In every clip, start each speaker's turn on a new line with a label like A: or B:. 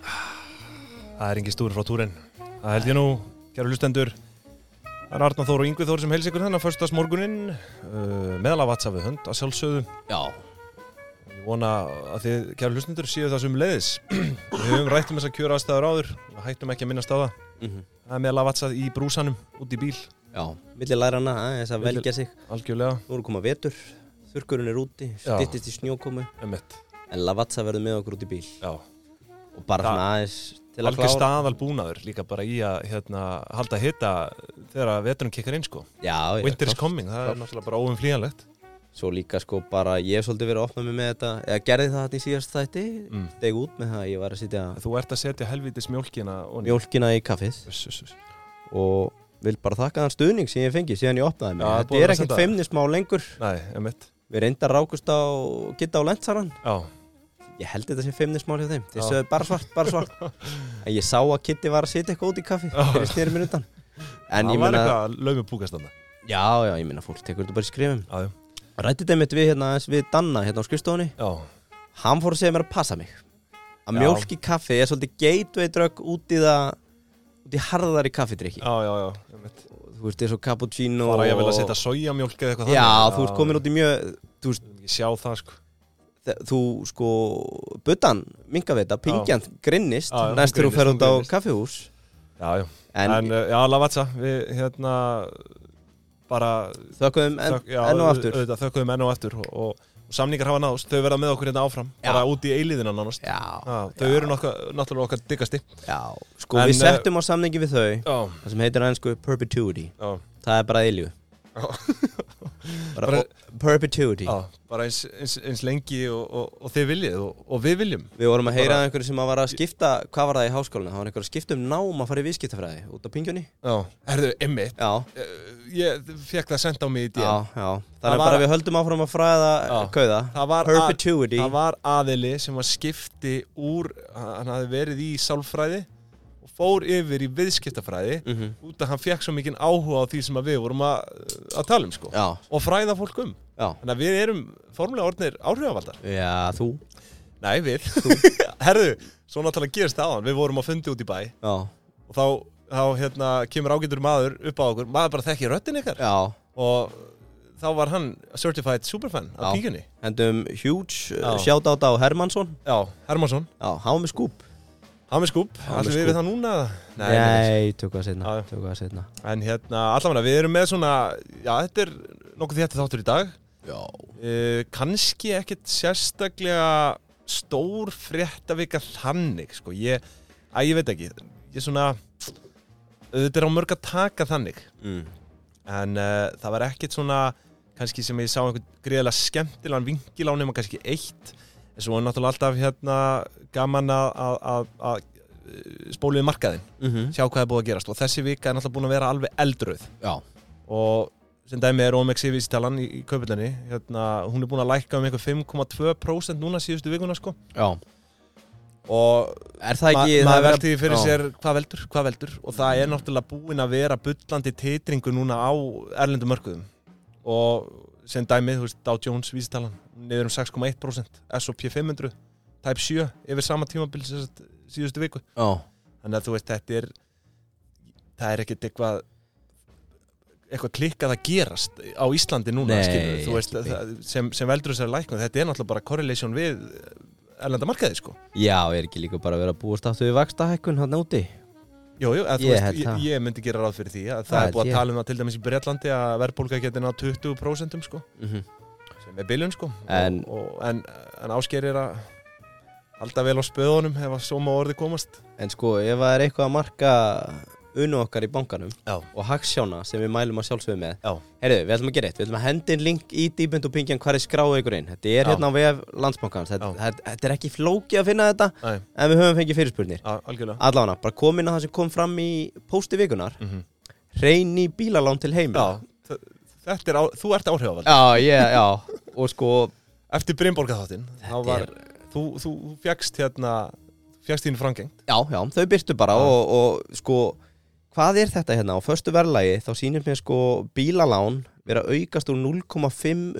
A: Það er engin stúri frá túrin. Það held ég nú, kæru hlustendur. Það er Arnar Þór og Yngvi Þór sem helsi ykkur þennan förstas morgunin uh, meðal af vatsa við hönd að sjálfsögðu.
B: Já,
A: Ég vona að þið, kæru hlustendur, séu það sem leiðis. við höfum rætt um þess að kjöra aðstæður áður og hættum ekki að minnast á það.
B: Mhm.
A: Það er meðal af vatsa í brúsanum, út í bíl,
B: já, milli lærana aðeins að
A: Milli-
B: velja sig
A: algjörlega.
B: Nú er að koma vetur, þurrkurinn er úti,
A: Já.
B: styttist í snjókomu
A: Emmett.
B: En Lavazza verður með okkur út í bíl
A: Já.
B: Og bara
A: Já.
B: svona aðeins til að
A: Algjör
B: klára
A: staðal búnaður líka bara í að hérna, halda hitta þegar að veturinn kikkar inn sko.
B: Já, já,
A: Winter is
B: klárt.
A: coming, það er náttúrulega bara óumflýjanlegt.
B: Svo líka sko bara, ég hef svolítið verið að opna mig með þetta Eða gerði það þetta í síðast þætti,
A: Mm.
B: steg út með það að Ég var að sitja
A: Þú ert að setja helvitis mjólkina og
B: mjólkina í kaffið
A: Já,
B: Og vil bara þakka þann stuðning sem ég fengi síðan ég opnaði mig
A: Já, það er búið að
B: Þetta er
A: senda
B: ekkert
A: það.
B: feimnismá lengur
A: Nei, emitt
B: Við reyndar rákust á Gitta og Lentsaran
A: Já,
B: Ég held þetta sem feimnismál hjá þeim Þeir
A: Já.
B: sögðu bara svart, bara svart En ég sá að Kitty var að setja eitthvað út í kaffi Þegar ég snýri mér undan
A: það
B: En ég
A: var
B: meina
A: eitthvað að laumi búkast þarna
B: Já, já, ég meina fólk tekur þetta bara í skrifum
A: Já, já,
B: Rætti þeim eitt við hérna aðeins við Danna hérna á skrifstofunni
A: já,
B: Hann fór að segja mér að passa mig Að
A: Já.
B: mjólk í kaffi er svolítið gateway drug út í það Út í harðari kaffidrykki
A: já, já, já emitt
B: Þú veist, eins og cappuccino
A: Bara ég vil að
B: og-
A: setja sojamjólk eða eitthvað
B: Já, þú ert komin út í mjög Þú veist,
A: Ég sjá það sko
B: þe- þú sko Buddan, mingaveita, pingjant, grinnist
A: Já, já, hún
B: Næstur þú
A: grinnist,
B: fer
A: hún
B: út á
A: grinnist.
B: kaffihús
A: Já, já, en,
B: En, en
A: uh, já, lavatsa Við hérna bara
B: þökkum en,
A: þökk- já,
B: enn og
A: auð-
B: aftur
A: auðvitað, Þökkum enn og aftur og, og, og samningar hafa náðst, þau verða með okkur hérna áfram
B: Já.
A: bara út í eilíðina nánast
B: Já,
A: Já, þau eru nokka, náttúrulega okkar diggasti
B: já Sko,
A: En,
B: við
A: eh,
B: settum á samningi við þau
A: Já,
B: Það sem heitir aðeins sko perpetuity
A: já,
B: Það er bara eilju
A: Já.
B: bara,
A: Bara-
B: o- Perpetuity
A: já bara eins, eins, eins lengi og, og, og þið viljið og, og við viljum
B: Við vorum að heyra
A: Bara-
B: bara... einhverju sem að var að skipta Hvað var það í háskólinu? Það var einhverju að skipta um nám að fara í viðskiptafræði Út af pingjunni
A: Já, herðu, emmi
B: Já,
A: Eh, ég fekk það sendt á mig í
B: já,
A: DM
B: já
A: Það
B: Þannig að
A: var-
B: bara við höldum áfram að fræða
A: Já.
B: Kauða
A: það var, að-
B: Perpetuity
A: það var aðili sem var skipti úr hann hafði verið í sálfræði og fór yfir í viðskiptafræði
B: Mhm.
A: út að hann fekk svo mikinn áhuga á því sem að við vorum að, að tala um sko
B: Já,
A: og fræða fólk um
B: já
A: þannig að við erum formulega orðnir áhrifavaldar
B: Já, þú
A: nei við herðu, svo náttúrulega gerist það á hann við vorum á fundi út í bæ
B: Já,
A: og þá, þá hérna, kemur ágætur maður upp á okkur maður bara þekki röttin ykkar
B: já
A: og þá var hann certified superfan af
B: Já.
A: píkjunni
B: Hendum huge
A: Já.
B: uh, shoutout á Hermansson
A: Já, Hermansson,
B: Já, hann var með skúp
A: hann er skúp,
B: Hann er
A: allir við
B: skúp.
A: við það núna Nei, nei.
B: Nei, tökum við
A: Já,
B: að setna,
A: já.
B: tökum við að setna.
A: En hérna, allavega, við erum með svona, já, þetta er nokkuð þetta þáttur í dag
B: Já.
A: uh, Kanski ekkit sérstaklega stór fréttavika þannig, sko Ég, að ég veit ekki, ég svona, þetta er á mörg að taka þannig
B: Mm.
A: En uh, það var ekkit svona, kannski sem ég sá einhvern greiðlega skemmtilegan vinkil á nema kannski eitt En svo er náttúrulega alltaf hérna gaman að, að, að, að eh, spóla við markaðinn
B: Mhm.
A: sjá hvað er búið að gerast og þessi vika er náttúrulega búin að vera alveg eldrauð
B: Já.
A: og sem dæmi er OMX vísitalan í, í kaupillinni hérna, hún er búin að lækka um einhver 5,2% núna síðustu vikuna sko
B: Já.
A: og
B: Er það ekki...
A: ma
B: það er
A: maður
B: verið
A: velti því fyrir
B: já.
A: sér hvað veldur, hvað veldur og það er náttúrulega búin að vera bullandi titringu núna á erlendum mörkuðum og sem dæmi, þú veist, Dow Jones vísitalan niður um 6,1% S&P 500 Type 7 yfir sama tímabil sem sagt síðustu viku
B: Já.
A: þannig að þú veist þetta er það er ekkert eitthvað eitthvað klikkað að gerast á Íslandi núna
B: Nei,
A: skilur, þú veist,
B: ekki
A: það, sem, sem veldur þessari læknum þetta er náttúrulega bara correlation við erlenda markaði sko
B: Já, er ekki líka bara verið að búast aftur við vaxtahækkun hann úti?
A: jú, jú, að, ég,
B: Ég
A: veist,
B: held
A: ég,
B: það.
A: ég myndi gera ráð fyrir því að það,
B: Það
A: er búið
B: held
A: að
B: ég.
A: tala um það til dæmis í Bretlandi að verðbólga geti ná 20% sko,
B: Mm -hmm.
A: sem er biljun sko
B: En-
A: og, og, en, en ásker er að halda vel á spöðunum ef að svo má orði komast
B: En sko, ef það er eitthvað að marka unu okkar í bankanum
A: já,
B: og hagsjána sem við mælum að sjálfsögum með
A: já,
B: Herðu, við ætlum að gera eitt, við ætlum að hendi inn link í dýbund og pingjan hvar er skráðu ykkur inn Þetta er
A: Já.
B: hérna á vef landsbankans þetta,
A: Já.
B: þetta- þetta er ekki flóki að finna þetta
A: Nei.
B: en við höfum fengið fyrirspurnir
A: já algjörlega
B: Allána, bara komin að það sem kom fram í pósti vikunar
A: mm
B: Reyni bílalán til heimil
A: já, þ- þetta er á, þú ert áhrifavald
B: Já, ég, já Og sko,
A: Eftir Brynborga þáttinn þá
B: Þetta
A: var,
B: er-
A: þú, þú fjækst hérna fjækst þínu frangengt
B: já, já, þau byrtu bara og, og sko hvað er þetta hérna? Á föstu verðlagi þá sýnir mér sko bílalán vera aukast úr 0,5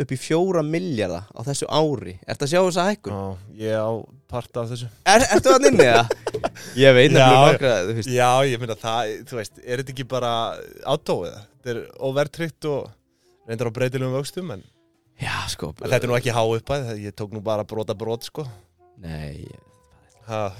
B: upp í 4 miljardar á þessu ári. Ertu að sjá þessa hækkun?
A: Já, ég á part af þessu
B: Er, ertu að nynni það? Ég veit nefnilega
A: Já.
B: nokkra, þú veist.
A: Já, ég meina það, þú veist, er þetta ekki bara átóið? Þetta er overtryggt og reyndar á breytilegum vöxtum en,
B: Já, sko.
A: en þetta er nú ekki há uppæð, ég tók nú bara brota brot sko
B: Nei, ég-
A: ha.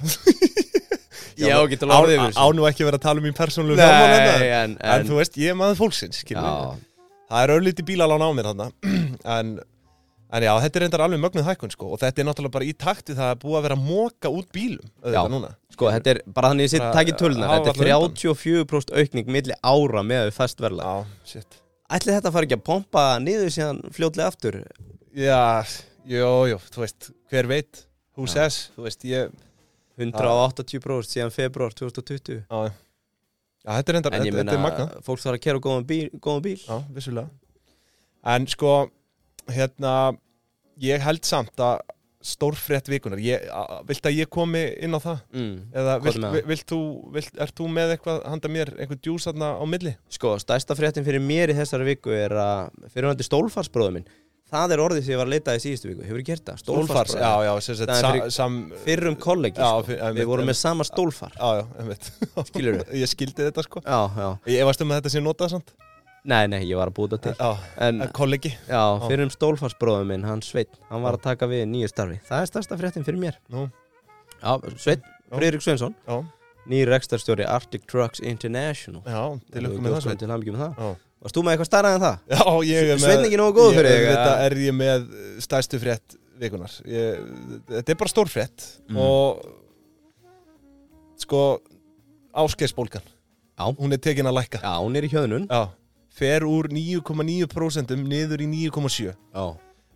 B: ég á ekki til
A: á,
B: að orðið yfir
A: á nú ekki að vera að tala um mín persónulegu fjármál en,
B: Nei, en,
A: en
B: en,
A: þú veist, ég er maður fólksins skilur við.
B: já,
A: Það er örlítið bílalán á mér þarna en, en já, þetta er reyndar alveg mögnuð hækkun sko og þetta er náttúrulega bara í takt við það að búa að vera að móka út bílum
B: Já.
A: auðvitað núna
B: sko, þetta er bara þannig að ég
A: Bara,
B: sitt takið tölnar,
A: hafa
B: þetta er
A: varla undan.
B: 34% aukning milli ára með við fast verðlag.
A: Já, shit
B: Ætli þetta fari ekki að pompa niður síðan fljótlega aftur?
A: Já, jú, jú, þú veist, hver veit Who
B: Já.
A: says, þú veist, ég
B: 180% síðan februar 2020
A: Já, já. Já, þetta er reyndar,
B: En ég
A: þetta, þetta er magna
B: meina, fólk þarf að kera á góðan bíl, góðan bíl.
A: Já, vissulega En sko, hérna Ég held samt að stórfrétt vikunar ég, a- a- Vilt að ég komi inn á það?
B: Mm.
A: Eða
B: Hvað
A: vilt,
B: með það?
A: vi- vilt þú, vilt, ert þú með eitthvað handa mér, einhver djús þarna á milli?
B: Sko, stærsta fréttin fyrir mér í þessari viku er að fyrirvændi stólfarsbróður minn það er orðið sem ég var að leita í síðustu viku Hefur þið gert það?
A: Stólfars,
B: Stólfarsbróður
A: já, já, sem sagt
B: Það er
A: sa,
B: fyrir-
A: sam,
B: Fyrrum kollegi,
A: Já,
B: sko.
A: fyr- einmitt,
B: við vorum
A: einmitt.
B: með sama stólfar
A: Já, já, einmitt
B: Skilurðu?
A: Ég skildi þetta sko
B: Já, já,
A: Ég varst um að þetta sé notað samt
B: nei, nei, ég var að búta til
A: Já,
B: En,
A: kollegi
B: já, fyrrum stólfarsbróður minn, hann Sveinn hann var að taka við nýju starfi Það er stærsta fréttin fyrir mér
A: Nú,
B: Já, Sveinn,
A: Já.
B: Friðrik Sveinsson
A: já,
B: nýr rekstarstjóri Arctic Trucks International
A: já, til okkur með það sko.
B: Til hamingju með það
A: Já.
B: Varst þú með eitthvað starra en það?
A: Já, ég er með
B: Sveinn ekki nógu góður fyrir
A: Ég-
B: þig,
A: auðvitað
B: eða?
A: er ég með stærstu frétt vikunar ég, Þetta er bara stór frétt
B: Mhm.
A: Og Sko Áskeiðsbólgan
B: Já.
A: Hún er tekin að lækka
B: Já, hún er í hjöðnun
A: Já. Fer úr 9,9% niður í 9,7
B: Já,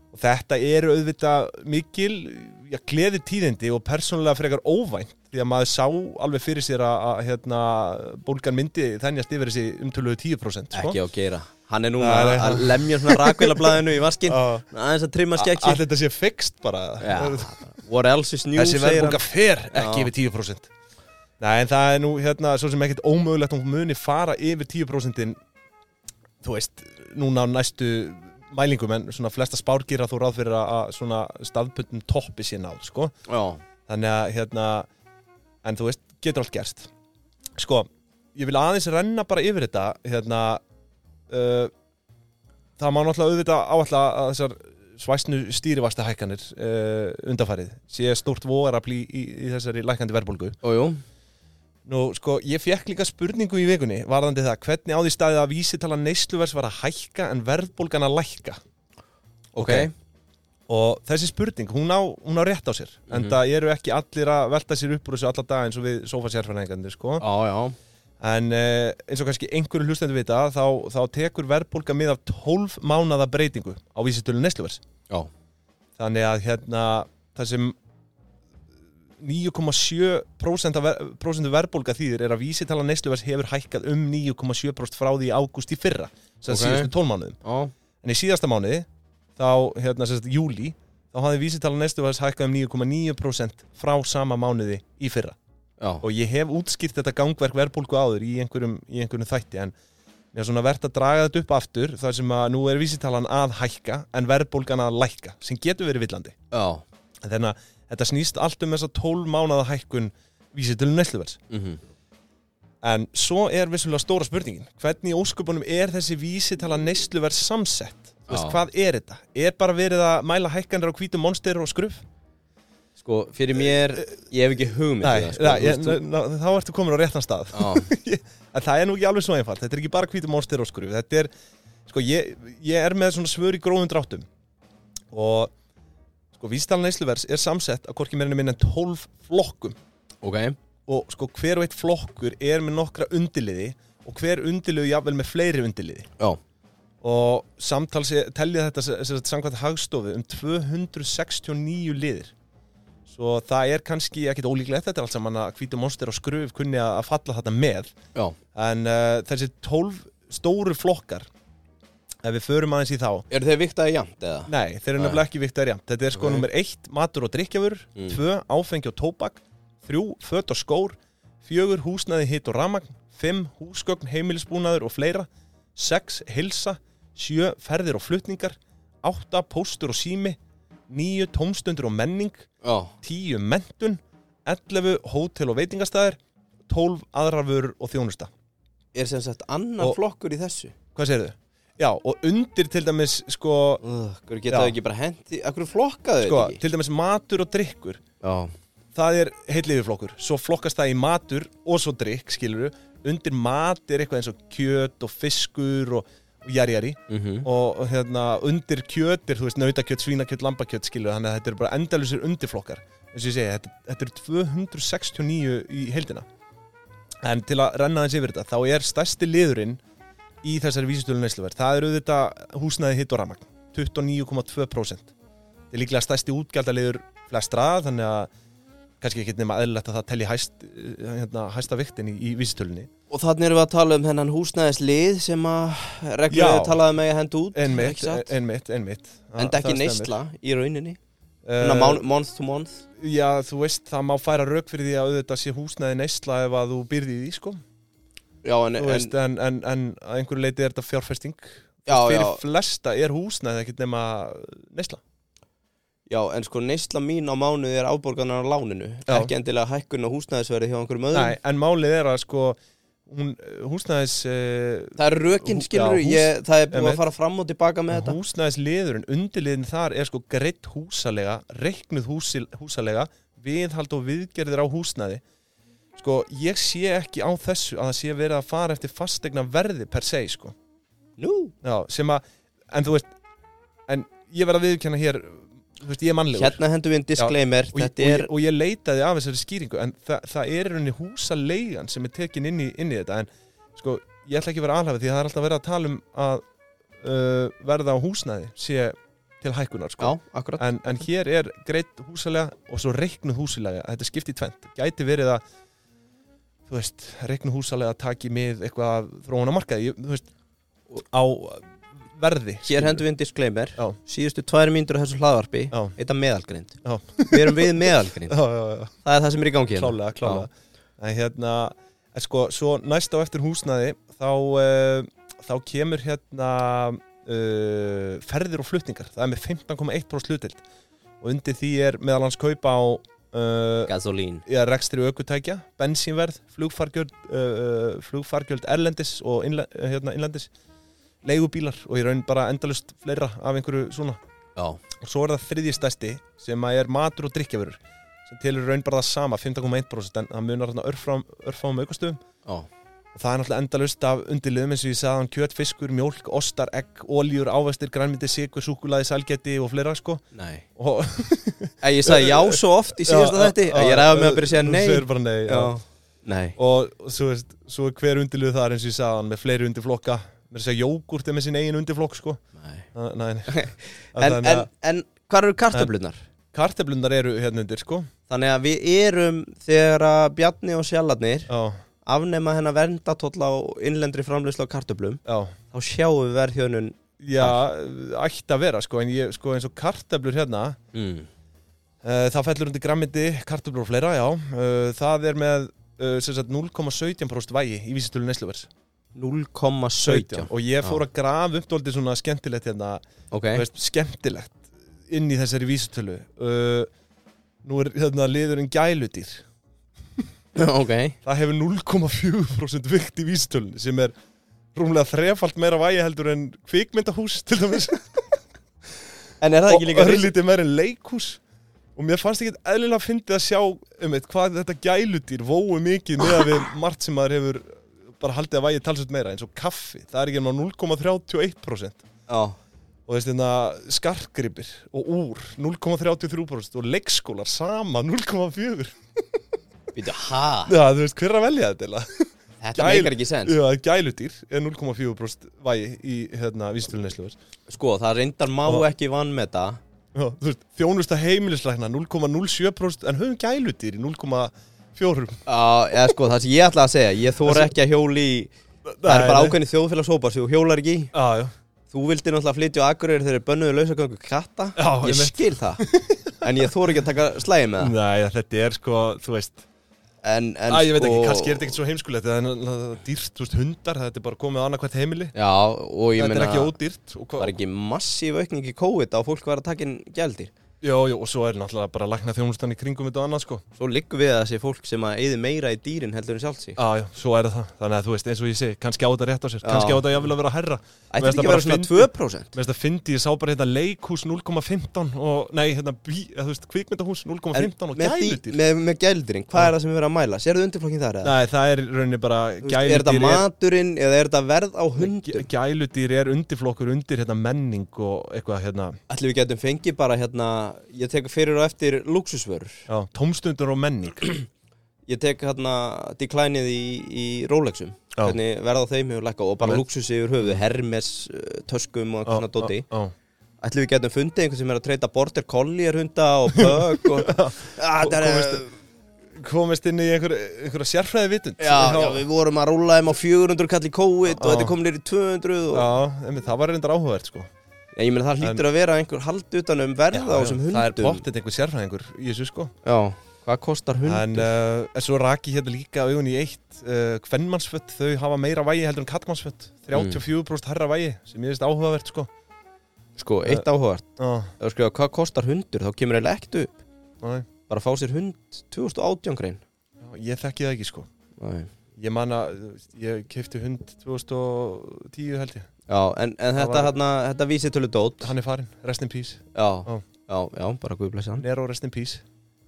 A: Og þetta eru auðvitað mikil Já, gleði tíðindi og persónulega frekar óvænt Því að maður sá alveg fyrir sér að, að hérna, bólgan myndi þennjast yfir þessi umtöluðu 10% sko.
B: ekki á geira Hann er núna
A: Nei, nei,
B: að lemja svona rakvélablaðinu í vaskinn
A: Já.
B: aðeins að trimma
A: Allt
B: skekki
A: þetta sé fixt bara
B: Já, what else is new
A: Þessi
B: segir
A: verðbólga
B: hann.
A: fer ekki
B: Já.
A: yfir 10% Nei, en það er nú hérna svo sem ekkert ómögulegt hún muni fara yfir 10% þú veist, núna á næstu mælingum, en svona flesta spárgýra þú ráð fyrir að- að svona staðbundum toppi sé náð, sko
B: Já,
A: þannig að hérna en þú veist, getur allt gerst sko, ég vil aðeins renna bara yfir þetta hérna uh, það má náttúrulega auðvitað áallega að þessar svæsnu stýrivasta hækkanir uh, undarfærið sé stórt vogarafl í, í, í þessari lækandi verðbólgu
B: ójú
A: Nú, sko, ég fekk líka spurningu í vikunni varðandi það, hvernig á því staðið að vísitala neysluvers var að hækka en verðbólgan að lækka
B: Ok,
A: Ok. og þessi spurning, hún á, hún á rétt á sér
B: Mhm.
A: en það eru ekki allir að velta sér upp úr þessu alla dag eins og við sofasérfæringarnir sko.
B: já, já
A: en eh, eins og kannski einhverju hlustendur vita þá, þá tekur verðbólka mið af 12 mánada breytingu á vísitölu nesluvers
B: Já,
A: þannig að hérna það sem 9,7% af ver, prósentu verðbólka þýðir er að vísitala nesluvers hefur hækkað um 9,7% frá því í ágúst í fyrra sem
B: Ok.
A: okay. síðustu 12 mánuðum
B: já,
A: En í síðasta mánuði, þá, hérna, sem sagt, júli, þá hafði vísitala neysluverðs hækkað um 9,9% frá sama mánuði í fyrra.
B: já
A: Og ég hef útskýrt þetta gangverk verðbólku áður í einhverjum, í einhverjum þætti, en mér er svona verðt að draga þetta upp aftur, þar sem að nú er vísitalan að hækka, en verðbólgan að lækka, sem getur verið villandi.
B: Já,
A: En Þannig að þetta snýst allt um þessa 12 mánuða hækkun vísitalu neysluverðs.
B: mhm
A: En svo er vissulega stóra spurningin Hvernig í ósköpunum er þessi vísitala neysluverð samsett? Þú veist,
B: Já.
A: hvað er þetta? Er bara verið að mæla hækkanir á hvítu monster og skruf?
B: Sko, fyrir mér, ég hef ekki hugmynd
A: Nei,
B: um
A: sko,
B: það,
A: ég,
B: sko,
A: ná, ná, þá ertu komin á réttan stað
B: þú veist,
A: En það er nú ekki alveg svo einfalt Þetta er ekki bara hvítu monster og skruf Þetta er, sko, ég, ég er með svona svör í gróðum dráttum Og, sko, vísitala neysluverðs er samsett að hvorki meirinu minna en 12 flokkum
B: já, ok
A: Og, sko, hver og eitt flokkur er með nokkra undiliði Og hver undiliði jafnvel með fleiri undiliði
B: Já,
A: og samtals er- telja þetta sem sagt, samkvæmt hagstofu um 269 liðir svo það er kannski ekkit ólíklegt þetta er allt saman að hvítu monster og skröf kunni að að falla þetta með
B: já,
A: en uh, þessi 12 stóru flokkar ef við förum aðeins í þá
B: eru þeir viktaði jæmt eða?
A: nei, þeir eru
B: Nei.
A: nefnilega ekki viktar jæmt þetta er sko
B: Ok.
A: nummer 1, matur og drikkjafur
B: Mm.
A: 2, áfengi og tóbak 3, fött og skór 4, húsnaði, hitt og ramagn 5. Húsgögn, heimilisbúnaður og fleira 6. Hilsa 7. Ferðir og flutningar 8. Póstur og sími 9. Tómstundur og menning
B: Já,
A: 10. Mentun 11. Hótel og veitingastæðir 12. Aðrar vörur og þjónusta
B: er sem sagt annar
A: Og-
B: flokkur í þessu
A: Hvað segirðu? Já, og undir til dæmis sko,
B: uh, Hverju geta
A: Já.
B: þau ekki bara hendi Hverju flokkaðu
A: sko
B: þetta ekki?
A: til dæmis matur og drikkur
B: Já,
A: það er heill yfirflokkur svo flokkast það í matur og svo drikk skilur undir mat er eitthvað eins og kjöt og fiskur og, og jarjari
B: mm
A: og, og hérna undir kjöt er þú veist nautakjöt, svínakjöt, lambakjöt skilur þannig að þetta eru bara endalusir undirflokkar eins og ég segi, þetta, þetta eru 269 í heildina en til að renna aðeins yfir þetta þá er stærsti liðurinn í þessari vísistölu neysluverð það eru þetta húsnæði hitt og ramagn 29,2% þetta er líklega stærsti útgjaldaliður flestra þannig að kannski ekki nema eðlilegt að það telli hæst, eh, hérna, hæsta viktin í, í vísitölunni
B: Og þannig erum við að tala um hennan húsnæðislið sem að reglulega
A: Já.
B: talaði með um að henda út
A: einmitt,
B: ekki satt?
A: einmitt, einmitt
B: En
A: Það-
B: ekki
A: það stemmir.
B: neysla í rauninni
A: Eh,
B: Svona món- Month to month
A: Já, þú veist, það má færa rauk fyrir því að auðvitað sé húsnæði neysla ef að þú byrði í því, sko.
B: Já, en,
A: En,
B: en
A: veist, eh, en, en, en að einhverju leiti er þetta fjárfesting.
B: já,
A: fyrir
B: já,
A: flesta er húsnæði ekkert nema neysla.
B: já, en sko neysla mín á mánuði er áborganar á láninu
A: Já.
B: Ekki endilega hækkun á húsnæðisverði hjá einhverjum öðrum
A: Nei, en málið er að, sko, hún, húsnæðis, uh,
B: Það er rökin,
A: Hú-
B: skilur,
A: já, hús-
B: ég, það er búið
A: Einmitt.
B: að fara fram og tilbaka með þetta
A: húsnæðisliðurinn, undirliðin þar er sko greitt húsalega, reiknuð húsil, húsalega, viðhald og viðgerðir á húsnæði. Sko, ég sé ekki á þessu að það sé verið að fara eftir fastegna verði per se, sko.
B: Nú,
A: Já, sem að, en þú veist En ég verð að viðkjanna hér Þú veist, ég er mannlegur
B: hérna hendum við einn disclaimer
A: og, ég-
B: Þetta
A: og,
B: er,
A: ég, og ég leitaði af þessari skýringu En það, það er í rauninni húsaleigan sem er tekin inn í, inn í þetta En sko, ég ætla ekki að vera alhafið Því að það er alltaf verið að tala um að uh, Verða á húsnæði Sé til hækkunar
B: já,
A: sko.
B: akkurat
A: en, en hér er greitt húsalega Og svo reiknuð húsalega, þetta er skipt í tvent Gæti verið að Þú veist, reiknuð húsalega taki mið Eitthvað af þróun á markaði ég, Þú veist, á verði
B: Hér hendum við einn disclaimer
A: Já.
B: Síðustu tvær mínútur af þessu hlaðvarpi
A: Já.
B: Þetta er meðalgrind
A: Já.
B: Við erum við meðalgrind
A: já, já, já,
B: Það er það sem er í gangi hérna
A: klálega, klálega en hérna, en sko, svo næst á eftir húsnæði þá uh, þá kemur hérna uh, ferðir og flutningar það er með 15,1% hlutild og undir því er meðal hans kaupa á uh,
B: Gasolín
A: eða rekstri aukutækja, bensínverð flugfargjöld, uh, flugfargjöld erlendis og innle, eh, hérna, innlendis leigubílar og í raun bara endalust fleira af einhverju svona
B: Já,
A: og svo er það þriðji stærsti sem að er matur og drikkjafurur sem telur í raun bara það sama, 15,1% en það munar þarna örfám, örfám aukastöfum
B: já,
A: og það er náttúrulega endalust af undirliðum eins og ég sagði hann kjöt, fiskur, mjólk, ostar, egg, oljur, ávestir, grænmyndi, sigur, súkulaði, sælgeti og fleira sko
B: nei
A: og,
B: Æ, Ég sagði já svo oft í síðasta
A: Eh, Já,
B: þætti
A: já,
B: að Ég ræði með að byrja að segja
A: Þú
B: nei
A: segir bara nei já.
B: Já, nei
A: og og svo, veist, svo er hver undirlið þar eins og ég sagði hann með fleiri undirflokka með þess að jógurt er með sin eigin undirflokk sko
B: Nei.
A: Þa- nei, nei.
B: En,
A: Þannig
B: en,
A: að
B: en hvað eru kartöflunar?
A: kartöflundar eru hérna undir sko
B: Þannig að við erum þegar að Bjarni og Sjallarnir
A: já,
B: afnema hennar verndatólla á innlendri framleyslu á kartöflum
A: já
B: þá sjáum við verðhjónun
A: Já, ætti að vera sko, en ég, sko eins og kartöflur hérna
B: mm.
A: uh, það fellur undir grammindi kartöflur og fleira, já uh, það er með uh, sem sagt 0,17% vægi í vísitölu nesluvers
B: 0,17
A: og ég fór að grafa upp dóldi svona skemmtilegt hérna,
B: Ok,
A: þú veist, skemmtilegt inn í þessari vísitölu uh, nú er hérna liðurinn gæludýr
B: ok
A: það hefur 0,4% vikt í vísitölunni sem er rúmlega þrefalt meira vægi heldur en kvikmyndahús til dæmis
B: En er það
A: og
B: ekki líka
A: örlítið meir en leikhús og mér fannst ekki eðlilega fyndið að sjá um eitt, hvað þetta gæludýr vóu mikið með að við margt sem maður hefur bara haldið að vægi talsveit meira eins og kaffi, það er ekki enn á 0,31%
B: Já,
A: og þessi þetta skartgripir og úr 0,33% og leikskólar sama 0,4
B: býtu, ha?
A: Já, þú veist, hver er að velja þetta eiginlega?
B: Þetta
A: Gæl-
B: meikar ekki sens
A: Já, gæludýr er 0,4% vægi í hérna vísitölunæslu
B: Sko, það reyndar má
A: Já.
B: ekki vann með það
A: Þjónusta heimilislækna 0,07% en höfum gæludýr í 0,4%
B: Já, eða sko, það sem ég ætla að segja Ég þóra
A: Það
B: ekki að hjóli í Það er bara ákveðni þjóðfélagshópar sem þú hjólar ekki í.
A: Já, já,
B: Þú vildi náttúrulega flytja á Akureyri þegar bönnuðu lausagöngu katta
A: Já,
B: Ég
A: einmitt.
B: skil það En ég þóra ekki að taka slæði með það
A: Nei, þetta er sko, þú veist
B: en, en
A: Æ, ég veit ekki,
B: sko-
A: kannski er þetta ekkert svo heimskulegt Það er náttúrulega dýrt, þú veist, hundar Þetta er bara komið á annarkvært heimili
B: Já, og ég
A: Þetta er
B: meina,
A: ekki ódýrt og hvað-
B: var ekki massíf aukning í COVID á fólk var að taka inn gældir
A: Jó, jó, og svo er náttúrulega bara lagna þjónustan í kringum þetta og annað, sko
B: Svo liggum við að þessi fólk sem að eyði meira í dýrin heldur en sjálft sig
A: Já, já, svo er það Þannig að þú veist, eins og ég segi, kannski á þetta rétt á sér
B: Já.
A: Kannski á þetta jafnvel að vera herra
B: Ætti
A: Mér
B: ekki
A: finnst
B: að vera
A: það
B: svona
A: bara Mér
B: 2%
A: finnst að fyndi, ég sá bara hérna leikhús 0,15 og, nei, hérna, bí, eða, þú veist, kvikmyndahús 0,15 og
B: með, dý-
A: gæludýr
B: með, með gældirinn, hvað er það sem við verðum að mæla? Sérðu undirflokkin þar eða?
A: Nei, það er í rauninni bara
B: Þú veist, Er
A: gæludýr
B: þetta
A: er,
B: maturinn eða er þetta verð á hundum?
A: gæ- gæludýr er undirflokkur undir hérna menning og eitthvað hérna
B: Ætli við getum fengið bara hérna Ég tek fyrir og eftir luxusvörur
A: já, tómstundur og menning
B: Ég tek hérna declineið í, í Rolexum
A: Já.
B: Hvernig verð á þeim hefur lækka og bara
A: Alveg.
B: luxus yfir höfuð Hermes, uh, töskum og eitthvað svona dóti
A: Já, já.
B: Ætli við getum fundið einhvern sem er að treyta border collier hunda og bögg og... ah, það er,
A: Komist- komist inn í einhver, einhverja sérfræði vitund
B: já, Ah. já, við vorum að rúla þeim á 400 kall í COVID og
A: Já.
B: þetta er komin nýr í 200 og...
A: einmitt, það var reyndar áhugavert sko
B: Já, Ég meina það hlýtur að vera einhver hald utan um verða á þessum hundum
A: það er bóttið einhver sérfræðingur í þessu sko
B: Já, hvað kostar hundur?
A: en, uh, en svo raki hérna líka augun í eitt uh, kvennmannsfött, þau hafa meira vægi heldur en kallmannsfött 34% herra vægi sem ég veist áhugavert sko
B: Sko, eitt áhugavert
A: Já,
B: Ef þú skrifa hvað kostar hundur, þá kemur eiginlega ekkert upp
A: nei,
B: Bara fá sér hund 2018 grein
A: já, ég þekki það ekki sko
B: Nei.
A: ég man að ég kefti hund 2010 held ég
B: Já, en, en þetta,
A: var-
B: hérna, þetta vísi tölu dót Já,
A: hann er farin, rest in peace
B: já,
A: Já.
B: já, bara guð blessi hann
A: Nero rest in peace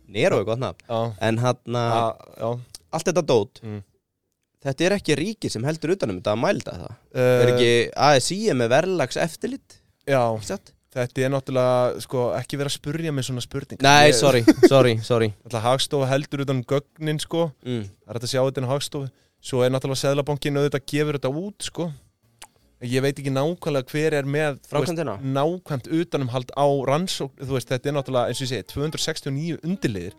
B: Nero er gott nafn
A: já,
B: En hérna,
A: já, já.
B: allt þetta dót
A: Mm.
B: Þetta er ekki ríki sem heldur utanum þetta að mælda það
A: Uh,
B: Er ekki ASI er með verðlags eftirlit,
A: já,
B: ekki satt?
A: Þetta er náttúrulega, sko, ekki vera að spurja með svona spurning
B: Nei, sorry, sorry, sorry
A: Alltaf hagstofa heldur utan um gögnin, sko
B: mm.
A: Það er hægt að sjá þetta en hagstofu Svo er náttúrulega seðlabankin auðvitað gefur þetta út, sko En Ég veit ekki nákvæmlega hver er með þú veist,
B: Frákvæmdina?
A: Nákvæmt utanumhald á rannsókn Þú veist, þetta er náttúrulega, eins og ég segi, 269 undirliðir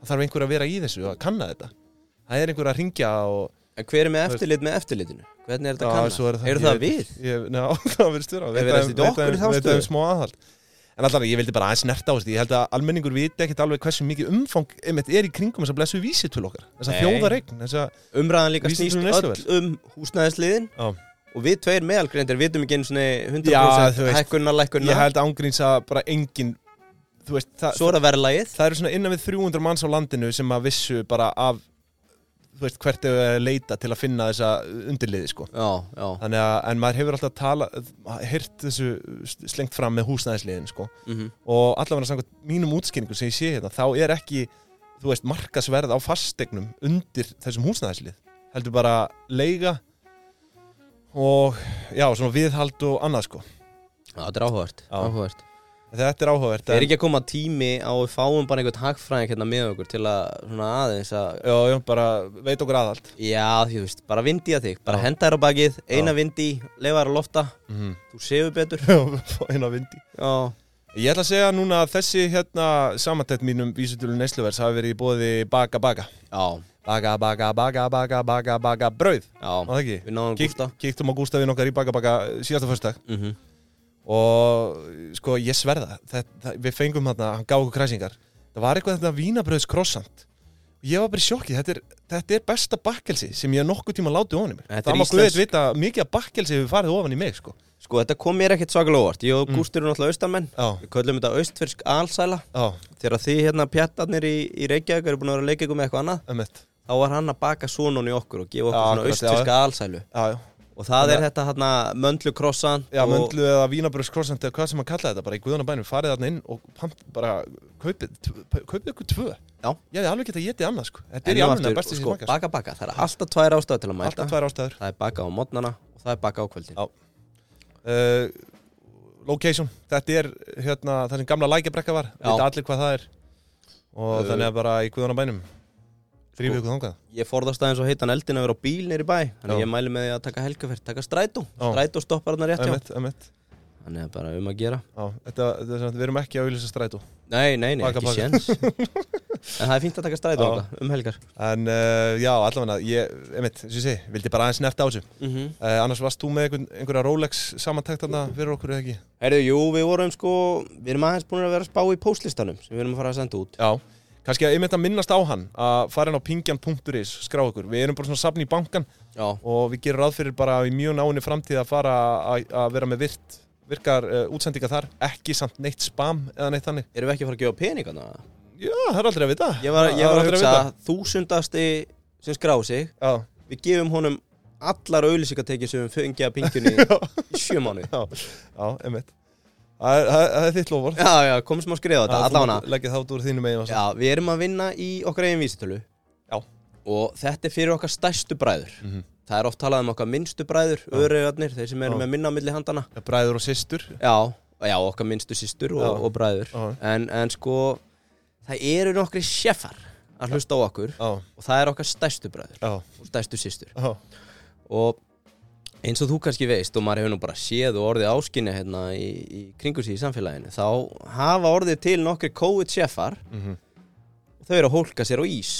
A: Það þarf einhver að vera í þessu að kanna þetta Það er einhver að ringja og
B: En hver er með eftirlit með eftirlitinu? Hvernig er þetta
A: Já,
B: kannað?
A: svo það-
B: Eru
A: ég
B: það
A: veit-
B: við?
A: Ég, ná, það verður stjóra
B: Er verið að setja okkur í þá
A: Veit um
B: stöðu?
A: smá aðhald En alltaf, ég vildi bara aðeins nerta á þessu Ég held að almenningur viti ekkit alveg hversu mikið umfang einmitt er í kringum þess að blessu vísitölu okkar Þess að
B: Nei.
A: þjóðaregn Þess að,
B: Umræðan líka
A: Vísitölu
B: snýst
A: neysluverðs.
B: öll um húsnæðisliðin
A: Já.
B: og við tveir meðalgreindir vitum ekki einu svona
A: Já,
B: 100%
A: þú veist.
B: hækkunna, lækkunna
A: ég held ángríns að bara engin Þú veist, það,
B: svo er það verðlagið
A: það eru svona innan við 300 manns á landinu sem að vissu bara af Þú veist, hvert hefur að leita til að finna þessa undirliði, sko
B: já, já,
A: Þannig að, en maður hefur alltaf tala, hirt þessu slengt fram með húsnæðisliðin, sko
B: mhm,
A: og allavega samkvæmt mínum útskýringum sem ég sé hérna, þá er ekki þú veist, markasverð á fastegnum undir þessum húsnæðislið heldur bara leiga og já, svona viðhald og annað sko,
B: já, þetta er áhugavert
A: Já.
B: áhugavert
A: þetta er áhugavert
B: það er
A: en-
B: ekki að koma tími á að við fáum bara einhvern hagfræðing hérna með okkur til að svona aðeins að
A: já, já, bara veit okkur aðhald
B: já, því þú veist, bara vindi að þig bara henda þér á bakið, eina vindi leifa þér á lofta,
A: mm
B: þú sefur betur
A: -hmm. inn á vindi
B: já,
A: ég ætla að segja núna að þessi hérna samantætt mínum vísutölu neysluverðs hafi verið í bóði baka baka
B: já,
A: baka baka baka baka baka baka brauð, var
B: já
A: það ekki?
B: við náðum
A: Kíkt-
B: gústa
A: Kíktum á Gústafin okkar í baka baka síðasta föstudag
B: mhm,
A: og sko ég sverða það, það, við fengum þarna, hann gaf okkur kræsingar það var eitthvað þetta vínabröðs krossant ég var bara í sjokki, þetta er, þetta er besta bakkelsi sem ég nokkuð tíma látið ofan í mig
B: Þetta er
A: það má
B: íslensk.
A: guðið vita að mikið að bakkelsi hefur farið ofan í mig sko.
B: sko, þetta kom mér ekkert svakalega óvart ég og Gústur eru náttúrulega austamenn
A: Mm. já,
B: við köllum þetta austfyrsk alsæla
A: já,
B: þegar þið hérna pjattarnir í, í Reykjavík eru búin að vera að leika ykkur með eitthvað annað
A: ömmett
B: þá var hann að baka sonun í okkur og gefa
A: Já,
B: okkur svona
A: akkurat,
B: austfyrska alsælu
A: já, já,
B: og það
A: Þannig
B: er þetta hérna möndlu krossan
A: já
B: og
A: möndlu eða vínabröðs krossant eða hvað sem að kalla þetta, bara í guðanabænum farið þarna inn og pant, bara kaupið tv- kaupið ykkur tvö
B: Já.
A: ég hefði alveg getað getið annað sko. þetta er
B: enn
A: í
B: og
A: alveg
B: aftur,
A: besti sem
B: sko,
A: ég smakast
B: baka baka, það er alltaf tvær ástöð til að mæta
A: alltaf tvær ástæður
B: það er baka á mótnana og það er baka á kvöldin
A: Já. uh, location þetta er hérna, það sem gamla lækjabrekka var
B: Já.
A: veit allir hvað það er og
B: Uh,
A: þannig að bara í guðanabænum
B: Sko.
A: þrýfið ykkur þangað
B: ég forðast aðeins og heitan eldin að vera á bíl nýri bæ
A: Já.
B: þannig að ég mæli með því að taka helgaferð, taka strætó
A: Já.
B: strætó stoppar hann rétt hjá
A: Einmitt, einmitt.
B: þannig að bara um að gera
A: Já, þetta, þetta er svona, við erum ekki að auðlýsa strætó
B: nei, nei, nei,
A: Baka,
B: ekki
A: baka.
B: séns en það er fínt að taka strætó
A: Já.
B: þangað, um helgar
A: en uh, já, allavega ég, einmitt, sem ég segi, vildi bara aðeins nerta á þessu
B: mm -hmm.
A: uh, annars varst þú með einhver, einhverja Rolex samantækt þarna fyrir okkur eða ekki
B: Herðu, jú, við vorum sko, við erum aðeins búin að vera að spá í póstlistanum sem við erum að fara að senda út.
A: já, kannski að einmitt að minnast á hann að fara inn á pingjan.is, skrá ykkur við erum bara svona safn í bankan
B: já,
A: og við gerum ráð fyrir bara í mjög náinni framtíð að fara að- að vera með virt virkar uh, útsendinga þar, ekki samt neitt spam eða neitt þannig
B: erum við ekki að fara að gefa peningana?
A: já, það er aldrei að vita
B: Ég var, ég var
A: Það
B: að
A: er aldrei
B: hugsa
A: vita.
B: að þúsundasti sem skrá sig
A: já,
B: við gefum honum allar auðlýsingatekjur sem við fengið að pingjunni í sjö mánu
A: já, já, einmitt það er, það er, það er þitt lofur
B: Já, já, komum sem að skrifa þetta, allána
A: leggja þátt úr þínum eigin
B: Já, við erum að vinna í okkar eigin vísitölu
A: Já.
B: Og þetta er fyrir okkar stærstu bræður
A: Mhm. Það
B: Það er oft talað um okkar minnstu bræður, öðrugarnir, þeir sem eru
A: Já.
B: með minna á milli handana
A: er bræður og systur
B: Já, já, okkar minnstu sýstur og,
A: Já.
B: og bræður
A: Já.
B: en, en sko, það eru nokkri sjeffar að hlusta á okkur
A: já,
B: Og það er okkar stærstu bræður
A: já,
B: og stærstu sýstur
A: já,
B: Og eins og þú kannski veist og maður hefur nú bara séð og orðið áskinni hérna í, í kringu sig í samfélaginu Þá hafa orðið til nokkri COVID sjeffar
A: Mhm.
B: Þau eru að hólka sér á ís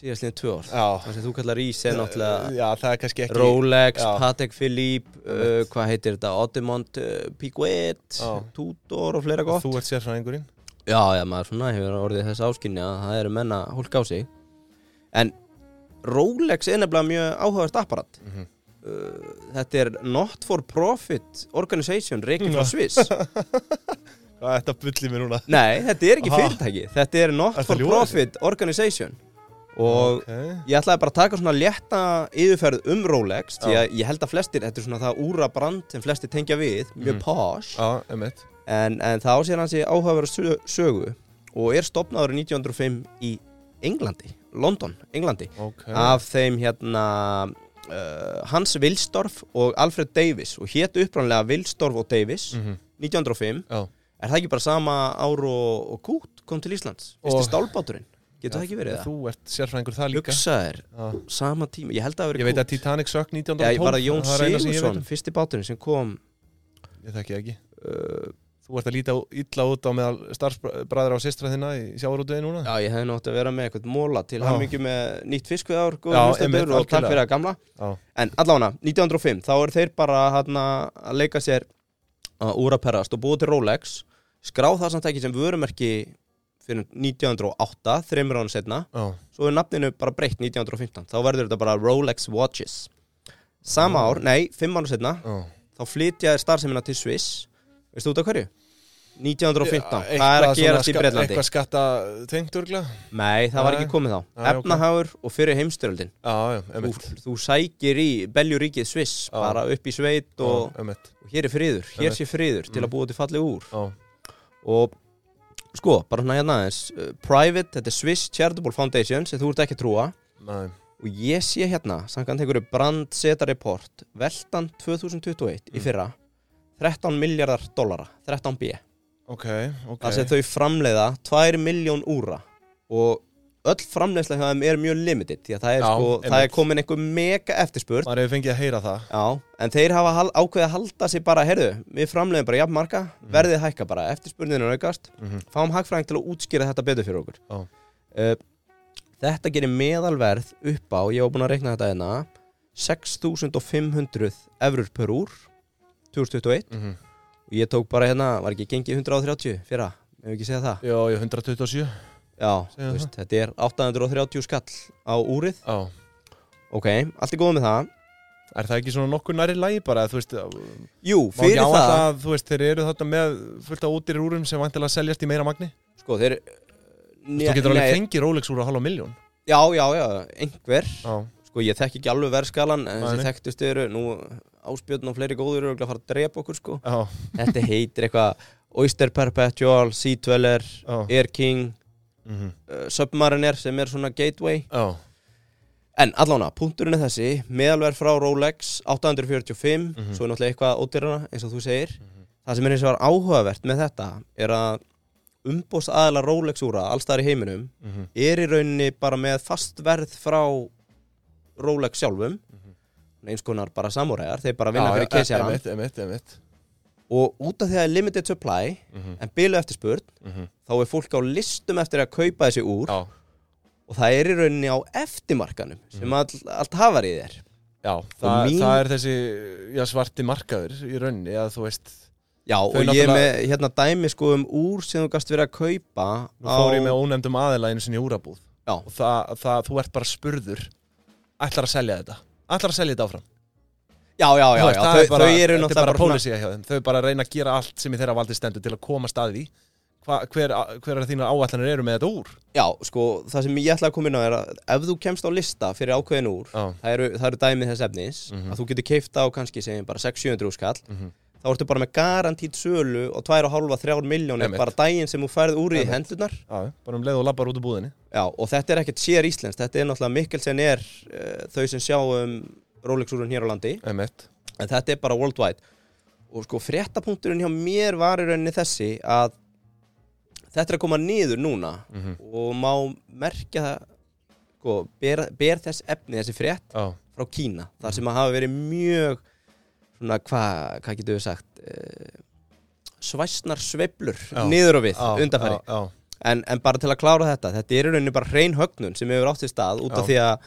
B: síðast liðin tvö ár
A: já.
B: Það sem þú kallar ís er náttúrulega
A: Eh, já það er kannski ekki
B: Rolex,
A: Já.
B: Patek Philippe, uh, hvað heitir þetta, Audemont uh, Piguet,
A: Já.
B: Tudor og fleira gott
A: þú ert sérfræðingurinn
B: Já, já, maður svona hefur orðið þess áskynni að það eru menna hólka á sig En Rolex er nefnilega mjög áhugavert apparat
A: Mhm.
B: uh, Þetta er Not for Profit Organization reikin frá
A: Já.
B: Sviss
A: Hvað er þetta bulli mér núna?
B: Nei, þetta er ekki
A: Aha.
B: fyrirtæki Þetta er Not
A: Ertu
B: for
A: að ljúga þessu?
B: Profit Organization Og
A: okay.
B: Ég ætlaði bara að taka svona létta yfirferð um Rolex Því að ég held að flestir, þetta er svona það úra brand sem flestir tengja við Mjög
A: Mhm.
B: posh
A: Já, emmitt
B: en, en það á sér hans í áhugaveru sö- sögu Og er stopnaður í 1905 í Englandi, London, Englandi
A: okay.
B: Af þeim hérna uh, Hans Wilsdorf og Alfred Davis Og hét uppranlega Wilsdorf og Davis
A: Mhm.
B: 1905
A: Já.
B: Er það ekki bara sama ár og, og kút kom til Íslands? Fyrsti
A: Og-
B: stálbáturinn? Getur það ekki verið það?
A: Þú ert sérfræðingur það líka
B: Hugsa þér,
A: Já.
B: sama tíma, ég held að það hafi verið
A: Ég veit
B: kút.
A: að Titanic sökk
B: Já,
A: 1912
B: ég var að Jón
A: það er eina sem ég
B: Sigurðsson,
A: veit um.
B: fyrsti báturinn sem kom
A: Ég þekki það ekki
B: uh,
A: Þú ert að líta ú- illa út á meðal starfsbræðra og sýstra þinna í sjávarútvegi núna
B: Já, ég hefði nátt að vera með eitthvað móla til
A: Já.
B: hamingju með nýtt fiskveðár
A: Já,
B: og
A: einmitt,
B: takk
A: algjörlega.
B: fyrir að gamla
A: Já.
B: En allána, 1905, þá eru þeir bara hana, að leika sér að úraperrast og búa til Rolex skrá það samt ekki sem vörumerki fyrir 1908, þreymur ára setna
A: Já,
B: svo er nafninu bara breytt 1915 þá verður þetta bara Rolex Watches Sama ár, nei, fimm ára setna
A: já
B: þá flytja þér starfsemina til Sviss veistu út af hverju? 1915,
A: Eitthvað
B: hvað er að
A: svona
B: gerast í
A: ska-
B: Breitlandi?
A: Eitthvað skatta tengt örgla
B: Nei, það var ekki
A: Nei.
B: komið þá
A: Nei, ok.
B: Efnahagur og fyrir heimstyröldin
A: Já, já,
B: þú,
A: emmitt
B: þú sækir í beljuríkið Sviss
A: Já.
B: bara upp í sveit og,
A: Emmitt
B: og hér er friður, hér
A: Einmitt.
B: sé friður til að
A: Mm.
B: búa til fallið úr
A: Já,
B: og sko, bara svona hérna aðeins uh, Private, þetta er Swiss Charitable Foundation sem þú ert ekki að trúa
A: næ
B: og ég sé hérna, samkvæmt einhverju brand seta report, veltan 2021 í
A: Mm.
B: fyrra 13 miljardar dollara, 13 b
A: Ok, ok
B: þar sem þau framleiða 2 miljón úra og öll framleiðsla hjá þeim er mjög limited því að það er,
A: Já,
B: sko, það er
A: einmitt.
B: komin einhver mega eftirspurn
A: Maður hefur fengið að heyra það
B: Já, en þeir hafa hal- ákveðið að halda sig bara, heyrðu, við framleiðum bara jafnmarka, verðið hækka bara, eftirspurnin er aukast,
A: Mhm.
B: fáum hagfræðing til að útskýra þetta betur fyrir okkur.
A: Já.
B: Uh, þetta gerir meðalverð upp á, ég var búin að reikna þetta hérna, 6.500 eurur per úr, 2021,
A: Mhm.
B: og ég tók bara hérna, var ekki gengið 130 fyrir það, ef ekki segja það.
A: Já, ég er 127
B: Já,
A: Segðu
B: þú veist, þetta er 830 skall á úrið
A: Já
B: Ok, allt er góð með það
A: Er það ekki svona nokkuð næri lægi bara, þú veist,
B: Jú,
A: Má ekki
B: fyrir það
A: áætla að þú veist, þeir eru þarna með fullt af útir úrum sem vantilega seljast í meira magni
B: Sko, þeir
A: Þú getur alveg
B: nei,
A: fengið Rolex úr að halva miljón
B: Já, já, já, einhver
A: Já,
B: Sko, ég þekki ekki alveg verðskalan
A: Nei,
B: En þessi
A: nei.
B: þekktustu eru, nú Áspjörn og fleiri góður eru örugglega að fara að drepa okkur, sko
A: já,
B: Þetta heitir eitthvað Oyster Perpetual, Sea Dweller
A: já
B: Air King,
A: mhm,
B: uh, Submariner sem er svona gateway
A: Já,
B: En allána, punkturinn er þessi meðalverð frá Rolex 845
A: Mhm.
B: svo er náttúrulega eitthvað ódýrana eins og þú segir Það sem er eins og var áhugavert með þetta er að umbóðs aðla Rolex úra allstæðar í heiminum
A: mhm,
B: er í rauninni bara með fast verð frá Rolex sjálfum eins konar bara samúræðar þeir bara vinna
A: Mhm. Já,
B: fyrir
A: já,
B: keisjaran
A: Einmitt, einmitt, einmitt
B: og út af því að er limited supply
A: Mhm,
B: en bylu eftirspurn
A: mhm,
B: þá er fólk á listum eftir að kaupa þessi úr
A: Já,
B: og það er í rauninni á eftirmarkanum
A: Mhm.
B: sem all, allt hafar í þér
A: já það,
B: mín-
A: það er þessi já, svarti markaður í rauninni að þú veist
B: Já,
A: Þau
B: og ég er
A: náttúrulega-
B: með hérna dæmi sko um úr sem þú gast verið að kaupa
A: Nú fór ég með ónefndum aðila einu sinni í úrabúð
B: Já.
A: og það, það, þú ert bara spurður ætlar að selja þetta ætlar að selja þetta áfram
B: Já, já, já,
A: Þú
B: já
A: veist, það
B: þau,
A: er bara,
B: þau eru
A: þetta er
B: náttúrulega
A: bara
B: svona-
A: pólisía hjá þeim þau bara reyna að gera allt sem í þeirra valdi stendur til að koma staði Hva, hver, hver er þínar áallanir eru með þetta úr
B: Já, sko, það sem ég ætla að koma inn á er að ef þú kemst á lista fyrir ákveðin úr
A: Já.
B: það eru, það eru dæmið þess efnis
A: Mhm.
B: að þú getur keifta á kannski segjum bara 600-700 skall
A: Mhm.
B: þá ertu bara með garantít sölu og 2,5-3 miljónir
A: Einmitt.
B: bara dægin sem þú færið úr í
A: Einmitt.
B: hendurnar
A: Já, bara um leið og labbar út úr búðinni
B: Já, og þetta er ekkert sér íslensk þetta er náttúrulega Mikkelsen er uh, þau sem sjá um Rolex-úrun hér á landi
A: M1
B: en þetta er bara worldwide og sko fréttapunkturinn hjá mér var í rauninni þessi að þetta er að koma niður núna
A: Mhm.
B: og má merkja það sko, ber, ber þess efni þessi frétt
A: Já,
B: frá Kína
A: Mhm.
B: þar sem að hafa verið mjög svona hvað hva getur við sagt uh, svæsnar sveiflur
A: Já.
B: niður og við
A: já,
B: undanfæri
A: já, já.
B: en, en bara til að klára þetta þetta er í rauninni bara hrein högnun sem hefur átt í stað út
A: Já.
B: af því að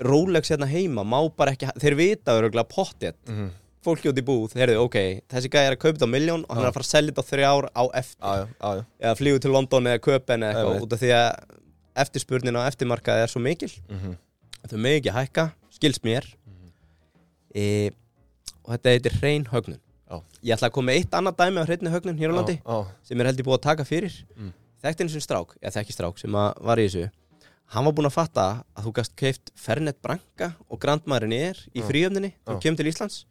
B: Rolex hérna heima má bara ekki þeir vita öruglega pottet
A: Mhm.
B: fólki út í búð, heyrðu, ok, þessi gæði er að kaupa þetta á miljón og hann er að fara að selja þetta á þrjár á eftir
A: já, já, já.
B: eða flýgu til London eða Köpen eða
A: Einmitt.
B: eitthvað út af því að eftirspurnin á eftirmarkaði er svo mikil
A: Mhm.
B: þau megi ekki hækka, skils mér e, og þetta heitir hrein högnun
A: Já.
B: ég ætla að koma með eitt annað dæmi á hreinni högnun hér á landi
A: Já, já.
B: sem er heldur búið að taka fyrir
A: Mm.
B: þekkti eins og strák, eða þekki strák sem að var í þessu hann var búinn að fatta að þú gast keift Fernet Branca og Grandmarin er í
A: Já.
B: fríöfninni þú
A: Já.
B: kemur til Íslands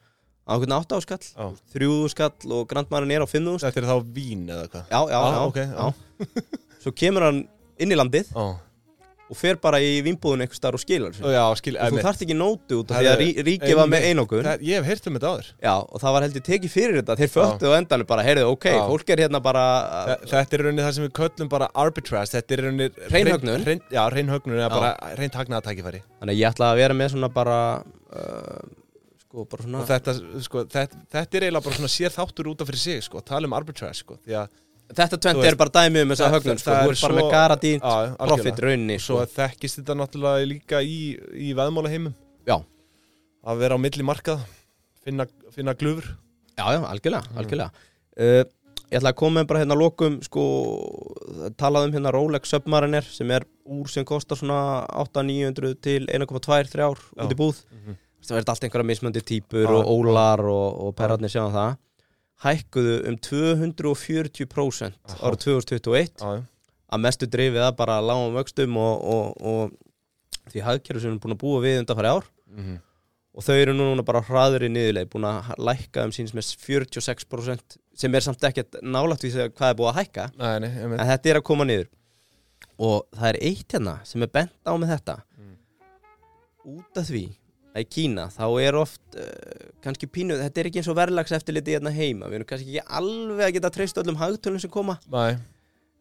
B: á einhvern átta áskall,
A: Já.
B: þrjúðu skall og Grandmarin er á fimmðu skall
A: Þetta er þá vín eða hvað
B: já, já,
A: Já,
B: já,
A: ok, já.
B: já. svo kemur hann inn í landið
A: Já,
B: og fer bara í vinnbúðun einhvers staðar og skilar þessu.
A: já, skil
B: og þú
A: einmitt.
B: þarft ekki nótu út af
A: Það
B: því að
A: er-
B: rí- ríkið var með
A: einmitt.
B: einokun
A: Það- Ég hef heyrt um þetta áður
B: já, og það var heldur tekið fyrir þetta þeir föttu á endanum bara, heyrðu, ok,
A: Já.
B: fólk er hérna bara
A: Þa- Þetta er í rauninni það sem við köllum bara arbitrage Þetta er í rauninni
B: Hrein högnun.
A: hrein- Já, reynhögnun eða
B: Já.
A: bara reyntagnatækifæri
B: Þannig að ég ætla að vera með svona bara uh, Sko, bara svona
A: Og þetta, sko, þetta, þetta er eiginlega bara svona sér þáttur út af fyrir sig, sko, tala um arbitrage, sko, því að
B: Þetta
A: þú
B: tvent
A: veist,
B: er bara dæmið um þessa
A: það-
B: högnum, sko
A: það
B: Þú
A: er
B: ert bara
A: svo-
B: með garadínt,
A: Já, já,
B: profit,
A: algjörlega.
B: raunni
A: svo
B: sko.
A: þekkist þetta náttúrulega líka í, í veðmálaheimum
B: Já,
A: að vera á milli markað, finna, finna glufur
B: já, já, algjörlega, algjörlega uh, Ég ætla að koma með bara hérna að lokum, sko Talað um hérna Rolex Submariner sem er úr sem kostar svona 8-900 til 1,2-3 ár
A: Já.
B: út í búð
A: Mhm.
B: Það verður allt einhverja mismöndi típur
A: Já,
B: og ólar og, og perrarnir sjáum það Hækkuðu um 240%
A: Aha.
B: árið 2021
A: Já, já.
B: að mestu drifið að bara lágum vöxtum og, og, og því hagkerfi sem við erum búin að búa við undan fari ár
A: Mhm.
B: og þau eru núna bara hraður í niðurleið búin að ha- lækka um síns með 46% sem er samt ekkert nálægt við þegar hvað er búið að hækka
A: Nei, nei, einmitt.
B: en þetta er að koma niður og það er eitt hérna sem er bent á með þetta
A: Mm.
B: út af því að í Kína þá er oft uh, kannski pínuð, þetta er ekki eins og verðlags eftirliti hérna heima, við erum kannski ekki alveg að geta treyst öllum hagtölum sem koma
A: Nei,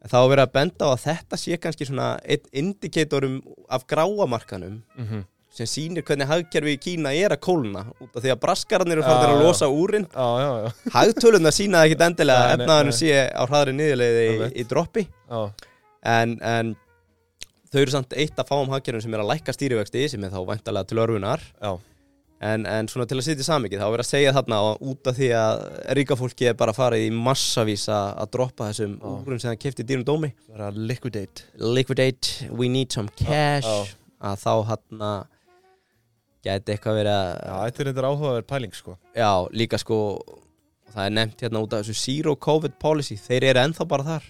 B: þá er verið að benda á að þetta sé kannski svona einn indikatorum af gráamarkanum
A: mhm.
B: sem sýnir hvernig hagkerfi í Kína er að kólna út af því að braskararnir eru farin
A: Já,
B: að
A: já.
B: losa úrin
A: Já, já, já,
B: hagtöluna sína ekkit endilega
A: Nei,
B: að
A: nei,
B: efnaðurinn
A: nei.
B: sé á hraðri niðurleiði í,
A: Alveg.
B: í droppi
A: já.
B: en, en þau eru samt eitt af fáum hagkerfum sem er að lækka stýrivexti sem er þá væntalega til örfunar
A: Já,
B: en, en svona til að sitja í samikið þá er verið að segja þarna og út af því að ríka fólki er bara að fara í massavísa að droppa þessum
A: Já.
B: úrum sem það kefti dýrum dómi
A: bara liquidate
B: liquidate, we need some cash
A: Já, já.
B: að þá hann að gæti eitthvað verið
A: Já,
B: að já.
A: þetta er reyndar áhugaverð pæling, sko
B: líka sko það er nefnt hérna út af þessu zero covid policy þeir eru ennþá bara þar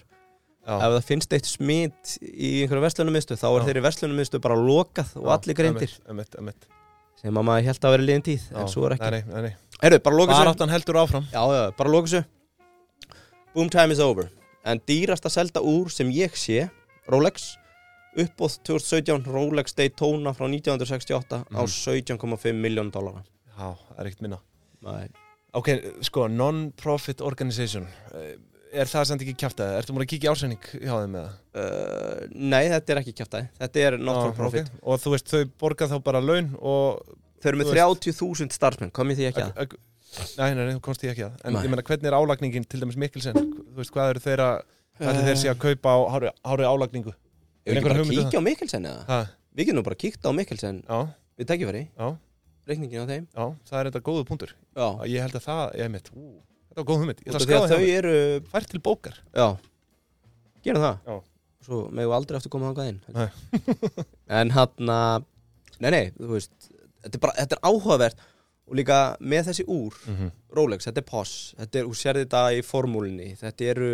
A: Já,
B: ef það finnst eitt smit í einhverju verslunumistu þá er
A: Já.
B: þeirri verslunumistu bara lokað og
A: já,
B: allir greindir
A: einmitt, einmitt, einmitt.
B: sem að maður held að vera liðin tíð
A: Já,
B: en svo er ekki
A: Nei, nei, nei, nei.
B: Heru, bara loka þessu
A: Baráttan heldur áfram
B: já, já, bara loka þessu boom time is over en dýrast að selda úr sem ég sé Rolex uppbóð 2017 Rolex Daytona frá 1968 á
A: Mhm.
B: 17,5 miljón dólara
A: Já, það er ekkert minna
B: Nei.
A: Ok, sko, non-profit organization Eh, Er það samt ekki kjæftæði? Ertu múin að kíkja í ásenning hjá þeim með það?
B: Uh, nei, þetta er ekki kjæftæði þetta er not
A: Ah,
B: for profit
A: Og þú veist, þau borga þá bara laun og
B: þau eru með
A: Þú
B: 30.000 starfsmenn, komið því ekki að
A: Ag- ag- Nei, nei, nei, þú komst ég ekki að En
B: Nei.
A: ég meina, hvernig er álagningin til dæmis Mikkelsen? Þú veist, hvað eru þeirra Hvað eru þeir sé að kaupa á hári, hári álagningu?
B: Ef
A: er
B: ekki
A: einhver
B: bara að
A: hugmynd um
B: kíkja á Mikkelsen eða?
A: Ha,
B: Við getum nú bara að kíkja á Mikkelsen
A: já,
B: við tækifæri,
A: já,
B: reikningin á þeim
A: já, það er þetta góðu punktur
B: Já,
A: Ég held að það, ég mitt, ú, Þetta var góð hugmynd, ég
B: Út
A: ætla að
B: af
A: hérna.
B: því
A: skráða
B: að
A: þau
B: þau eru
A: Fær til bókar
B: Já, gerum það
A: Já.
B: Svo megum við aldrei aftur koma þangað inn
A: Nei.
B: En hann að Nei, nei, þú veist Þetta er, bara, þetta er áhugavert Og líka með þessi úr
A: mm -hmm.
B: Rolex, þetta er POS Þetta er, þú sér þetta í formúlinni Þetta eru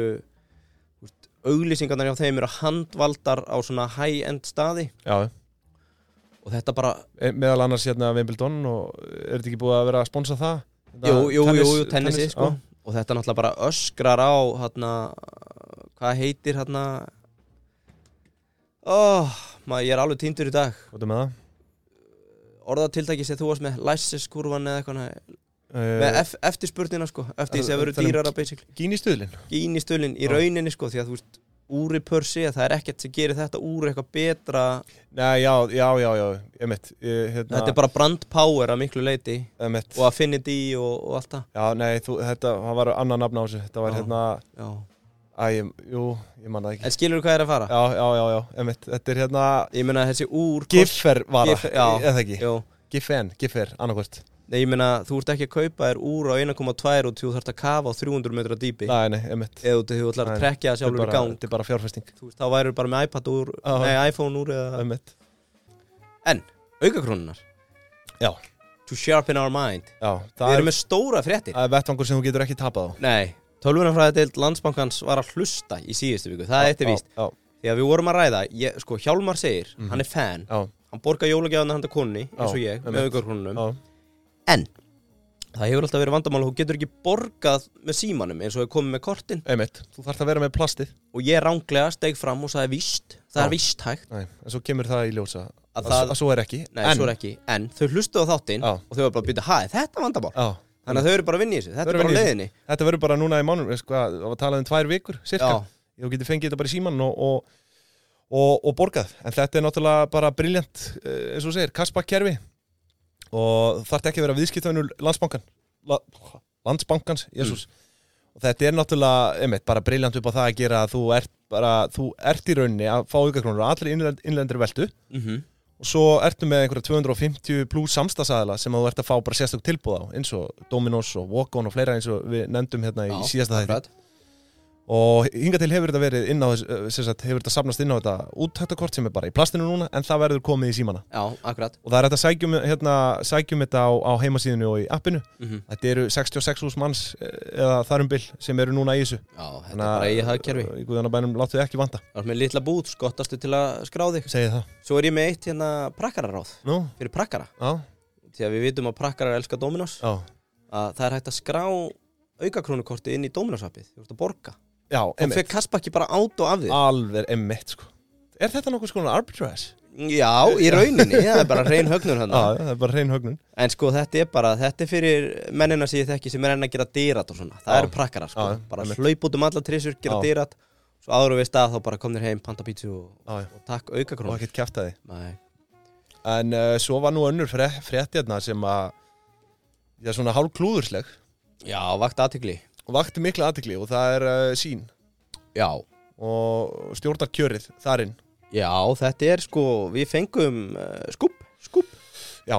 B: þú veist, Auglýsingarnar hjá þeim eru handvaldar Á svona high-end staði
A: Já,
B: Og þetta bara,
A: e- meðal annars hérna Wimbledon og eh, er þetta ekki búið að vera að sponsa það? Þetta
B: jú, jú,
A: tennis-
B: jú, jú tennisi
A: tennis,
B: sko.
A: já.
B: Og þetta náttúrulega bara öskrar á hana, Hvað heitir hana Oh, maður, ég er alveg týndur í dag
A: Hvað er með það?
B: orðatiltæki sem þú varst með læsiskurvan eða eitthvað nei, með
A: Uh,
B: ef, eftirspurnina sko eftir því
A: Það-
B: sem það verður
A: það er um-
B: dýrara basically
A: Gín í stuðlin
B: gín í stölinn í
A: Já.
B: rauninni sko því að þú veist úri pörsi að það er ekkert sem gerir þetta úr eitthvað betra
A: Nei, já, já, já, já, emitt hérna,
B: þetta er bara brand power að miklu leiti
A: emitt.
B: og affinity og, og allt það
A: Já, nei, þú, þetta það var annað nafn á þessu Þetta var
B: Já.
A: hérna,
B: já.
A: æ, ég- jú, ég manna ekki
B: en skilur hvað er að fara?
A: Já, já, já, já, emitt, þetta er hérna
B: ég meina þessi úr
A: Giffer vara,
B: Giffer, já.
A: eða ekki
B: já.
A: Giffen, Giffer, annarkvort
B: Nei, ég meina þú ert ekki að kaupa þér úr á 1,2 og þú þarft að kafa á 300 metra dýpi
A: Nei, nei, emitt
B: eða þú- þú ætlar
A: Nei,
B: að trekja það sjálfur í gang
A: Þetta er bara fjárfesting
B: Þú veist, þá værið bara með iPad úr,
A: Já. Um.
B: nei, iPhone úr eða
A: Emitt,
B: aukakrónunar
A: Já.
B: To sharpen our mind
A: já,
B: Við
A: það er,
B: erum með stóra fréttir
A: það er vettvangur sem þú getur ekki tapað á
B: Nei, tölvunarfræðadeild landsbankans var að hlusta í síðustu viku Það er eftir víst
A: Já,
B: Því að við vorum að ræða, ég, sko Hjálmar segir,
A: Mhm.
B: hann er fan
A: já,
B: Hann borgar jólagjafna handa konni, eins og
A: Já,
B: ég, með
A: einmitt.
B: aukarkrónunum
A: já,
B: En, það hefur alltaf verið vandamál Hún getur ekki borgað með símanum eins og hefur komið með kortin
A: emitt Þú þarft að vera með plastið
B: Og ég ránglega steg fram og sagði víst Það er
A: Já.
B: víst hægt
A: Nei, en svo kemur það í ljósa
B: Að
A: Að,
B: það-
A: að svo er ekki
B: Nei, svo er ekki En þau hlustuðu á þáttinn
A: Já.
B: og þau var bara að byrja, hæ, þetta er vandamál
A: Já,
B: Þannig að þau eru bara að vinna í þessu, þetta
A: Þau
B: er
A: eru að
B: bara á
A: vinna í
B: leiðinni
A: þetta verður bara núna í mánum sko, Það var talað um tvær vikur, cirka
B: Já.
A: Þú getur fengið þetta bara í síman og, og, og, og borgað En þetta er náttúrulega bara briljant eh, eins og þú segir, kaspakkerfi og þarf ekki að vera viðskiptöðunul landsbankan La, landsbankans,
B: Mm.
A: jésús og þetta er náttúrulega, einmitt, bara briljant upp á það að gera að þú ert bara, þú ert í rauninni að fá aukakrónur á allir innlend, innlendir veltu
B: mm
A: og svo ertu með einhverja 250 pluss samstagsæðila sem að þú ert að fá bara sérstök tilbúð á eins og Dominos og Walk-On og fleira eins og við nefndum hérna í síðasta þætti og hinga til hefur þetta verið inn á þess, eh, sem sagt, hefur þetta safnast inn á þetta úttæktakort sem er bara í plastinu núna en það verður komið í símana
B: Já, akkurat
A: og það er hægt að sækjum, hérna, sækjum þetta á, á heimasíðinu og í appinu
B: mm
A: þetta eru 66 hús manns eh, eða þarum bil sem eru núna í þessu
B: Já, þetta er bara eigið hagkerfi
A: í guðanabænum láttu þið ekki vanda
B: Það er með litla bút, skottastu til að skrá þig
A: segi það
B: Svo er ég með eitt hérna prakkararáð
A: Nú,
B: Fyrir prakkara
A: já,
B: Því að við vitum að prakkarar elska Dominos
A: já,
B: að Það er hægt að skrá aukakrónukorti inn í Dominos-appið Þú ert að borga
A: já
B: Þá
A: emmitt
B: fyrir kaspakki bara át og af þig
A: alveg emmitt sko Er þetta nokkuð skoðan arbitrage?
B: Já, í rauninni, það er bara reyn högnur hann
A: Já, það er bara hrein högnun
B: En sko þetta er bara, þetta er fyrir mennina sem ég þekki sem er enn að gera dýrat og svona Það
A: Já.
B: eru prakkarar sko,
A: Já,
B: bara
A: einmitt.
B: hlaup út um alla trissur, gera
A: Já.
B: dýrat Svo áður og veist að þá bara komnir heim, panta pítsu og,
A: Ah, Já, já.
B: og takk
A: og
B: aukakrónur
A: ekkert kæft að því
B: Nei,
A: En uh, svo var nú önnur fre frétt hérna sem að Já, svona hálf klúðursleg
B: Já, vakt aðtikli
A: og vakti mikla aðtikli og það er uh, sín
B: Já,
A: og stjórnar kjörið þarinn
B: já, þetta er sko, við fengum uh, skúp, skúp
A: Já,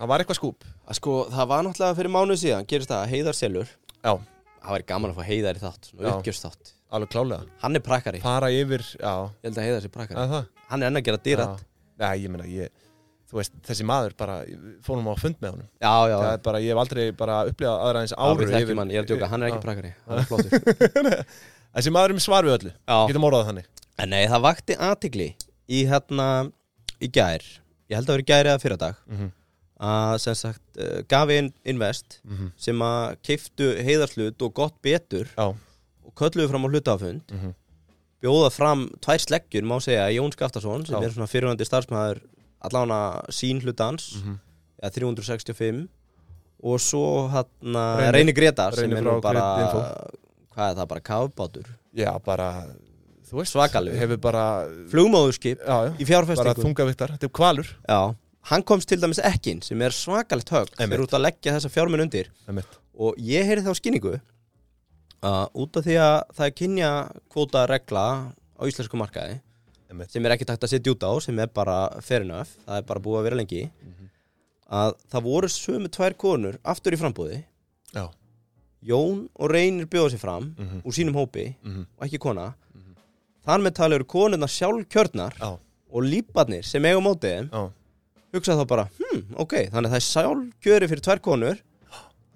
A: það var eitthvað skúp
B: að Sko, það var náttúrulega fyrir mánuð síðan, gerist það, heiðarselur
A: Já,
B: Það væri gaman að fá heiðar í þátt,
A: Já.
B: uppgjörs þátt
A: alveg klálega
B: Hann er prakkari,
A: Fara yfir, já,
B: ég held að heiðar sé prakkari
A: eða það
B: Hann er enn að gera
A: Já.
B: dýrat
A: Nei, ég meina, ég Þú veist, þessi maður bara, fórum á fund með honum
B: Já, já,
A: Það er bara, ég hef aldrei bara upplegað aðra eins
B: já
A: áru
B: við þekkjum hann, ég er að djóka, hann er ekki prakkari Hann er flottur
A: Þessi maður er með svar við öllu,
B: Já.
A: getum orðað það þannig
B: En nei, það vakti aðtigli í hérna í gær, ég held að vera í gær eða fyrradag
A: Mhm.
B: að sem sagt uh, gafi inn invest
A: Mhm.
B: sem að keiftu heiðarslut og gott betur
A: Já,
B: og kölluðu fram á hlutafund
A: Mhm.
B: bjóða fram tvær sleggjur má segja Jón Skaftason sem
A: Já.
B: er svona fyrirvændi starfsmæður allána sín hlutans mm
A: Mhm.
B: 365 og svo hérna
A: Reynir-
B: Reyni Gretar sem
A: Reynir
B: er nú
A: frá
B: bara
A: Creditinfo.
B: hvað er það bara kafbátur
A: já, bara Þú veist,
B: Svakalegur.
A: Hefur bara,
B: flugmóðurskip
A: já, já bara
B: í fjárfestingu
A: þungavittar, þetta er kvalur
B: Já, hann komst til dæmis ekki inn sem er svakalegt högg
A: Einmitt.
B: fyrir út að leggja þessa fjármenn undir
A: Einmitt.
B: og ég heyrði þá skýningu uh, út af því að það er kynja kvóta regla á íslensku markaði
A: Einmitt.
B: sem er ekki takt að setja út á sem er bara fair enough, það er bara búið að vera lengi
A: Mhm.
B: að það voru sömu tvær konur aftur í frambúði
A: Já.
B: Jón og Reynir bjóða sér fram
A: Mhm.
B: úr sínum hópi
A: Mhm.
B: og ekki kona þar með tala eru konurnar sjálfkjörnar
A: Já.
B: og líparnir sem eiga á móti þeim
A: Já.
B: hugsa þá bara, hm, ok, þannig að það er sjálfkjöri fyrir tvær konur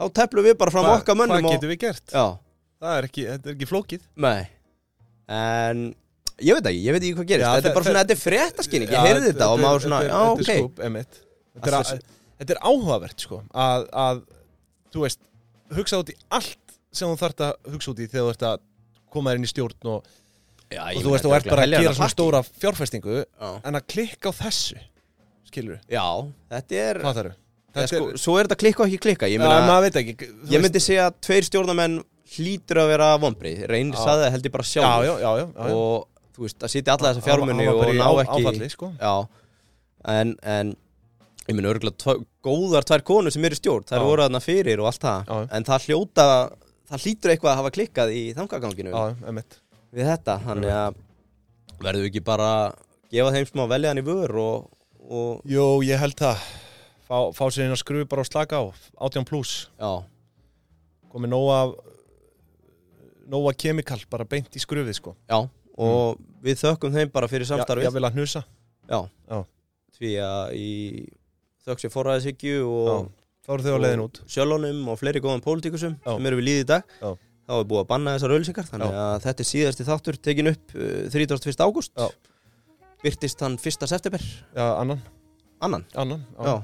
B: þá teflum við bara fram
A: Hva-
B: okkar mönnum
A: Hvað
B: og...
A: getum við gert?
B: Já,
A: Það er ekki, þetta er ekki flókið
B: nei en ég veit ekki, ég veit ekki hvað gerist
A: Já,
B: þetta
A: þe-
B: er bara svona,
A: þe-
B: þetta er fréttaskynning
A: Já,
B: ég heyrði þetta og maður svona,
A: er- sko-
B: já,
A: þetta
B: ok
A: er skúp, emitt þetta, er
B: Að
A: að- þetta er áhugavert, sko að, að, þú veist, hugsa út í allt sem þú þarft að hugsa út í þegar þú ert að koma þér inn í stjórn og,
B: já,
A: og þú veist, þú ert bara að gera svona stóra fjárfestingu
B: stóra
A: en að klikka á þessu skilur
B: já, þetta er,
A: hvað þarf
B: þetta sko, svo er þetta klikka og ekki klikka
A: Ég
B: ég,
A: meina,
B: meina,
A: maður veit ekki þú
B: ég
A: veist-
B: myndi segja að tveir stjórnamenn hlýtur að vera vombrið, reynir
A: Já.
B: saði það held ég bara
A: já,
B: sjálf
A: já, já, já, já.
B: og þú veist, að sitja alla þessa
A: Hann var-
B: fjármunni
A: hann var
B: og
A: bara í
B: ná
A: á-
B: ekki
A: áfalli, sko.
B: Já, en, en ég minn örgulega góðar tvær konur sem eru í stjórn, þær
A: Já.
B: voru þarna fyrir og allt það,
A: Já.
B: en það hljóta það hlýtur eitthvað að hafa klikkað í þangaganginu
A: já, emitt
B: við þetta, þannig að verðum við ekki bara að gefa þeim smá veljaðan í vör og, og
A: jú, ég held það fá, fá sér inn að skrufi bara og slaka á 18 pluss
B: já,
A: komið nóga nóga kemikal bara beint í skrufið sko
B: já og við þökkum þeim bara fyrir samstarfið
A: ég vil að hnusa
B: já,
A: Já.
B: því að í þökk sér forræðishyggju og
A: Já. þá eru þau á leiðin út
B: sjálfónum og fleiri góðan pólitíkusum
A: Já.
B: sem eru við líði í dag
A: Já.
B: þá er búið að banna þessar ölsingar þannig
A: Já.
B: að þetta er síðasti þáttur tekin upp uh, 31. ágúst
A: Já.
B: byrtist hann 1. september
A: já, annan,
B: annan
A: annan
B: Já.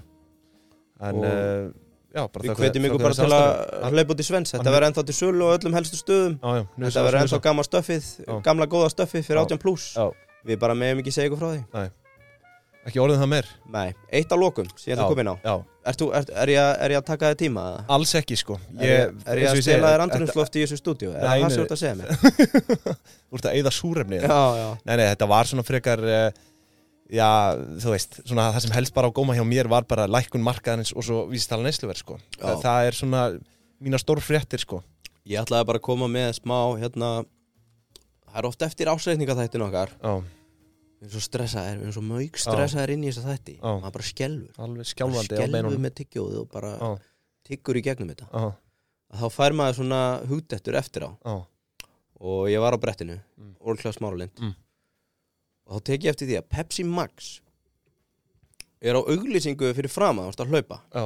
A: en
B: Og-
A: uh, já, bara
B: við
A: þökkum-
B: hvetjum ykkur
A: þökkum
B: bara
A: fyrir
B: til
A: samstarfið.
B: að hlaupa út í Svens þetta
A: Hann-
B: verður ennþá til sölu á öllum helstu stöðum
A: já, já, hnusa,
B: þetta verður
A: hnusa.
B: ennþá gamla stöffið
A: Já.
B: gamla góða stöffið fyrir
A: Já.
B: 18 pluss
A: Já.
B: við bara meðum ekki segja ykkur frá því
A: ekki orðið það meir
B: Nei, eitt á lokum, sem ég ætla
A: Já.
B: að koma inn á
A: já,
B: Ert þú, er, er, ég, að- er ég að taka þér tíma? eða?
A: alls ekki sko
B: Er ég, er ég
A: eins og
B: að
A: segi,
B: stela þér
A: þetta-
B: andrumsloft í þessu stúdíu? Er
A: Nei,
B: það það
A: nei.
B: sem þú ert að segja mér?
A: Þú ert að eyða súrefnið
B: Já, já
A: Nei, nei, þetta var svona frekar uh, Já, þú veist svona, Það sem helst bara á góma hjá mér var bara lækkun markaðarins og svo vísitala neysluverð sko.
B: Já.
A: það, það er svona mína stór fréttir sko.
B: Ég ætlaði bara að koma með smá hérna Það er oft eftir ásreikninga þættin okkar
A: Já,
B: Við erum svo stressaðir, við erum svo mög stressaðir inn í þessa þætti
A: Já.
B: Maður bara skelfur
A: alveg
B: Maður
A: skjálfandi á
B: Skelfur
A: beinunum
B: með tyggjóðu og bara
A: Já,
B: tyggur í gegnum þetta
A: já,
B: Þá fær maður svona hugdettur eftir á
A: já,
B: Og ég var á brettinu,
A: Mm.
B: Orkla Smáralind
A: Mm.
B: Og þá tek ég eftir því að Pepsi Max Er á auglýsingu fyrir frama, þú veist að hlaupa
A: já,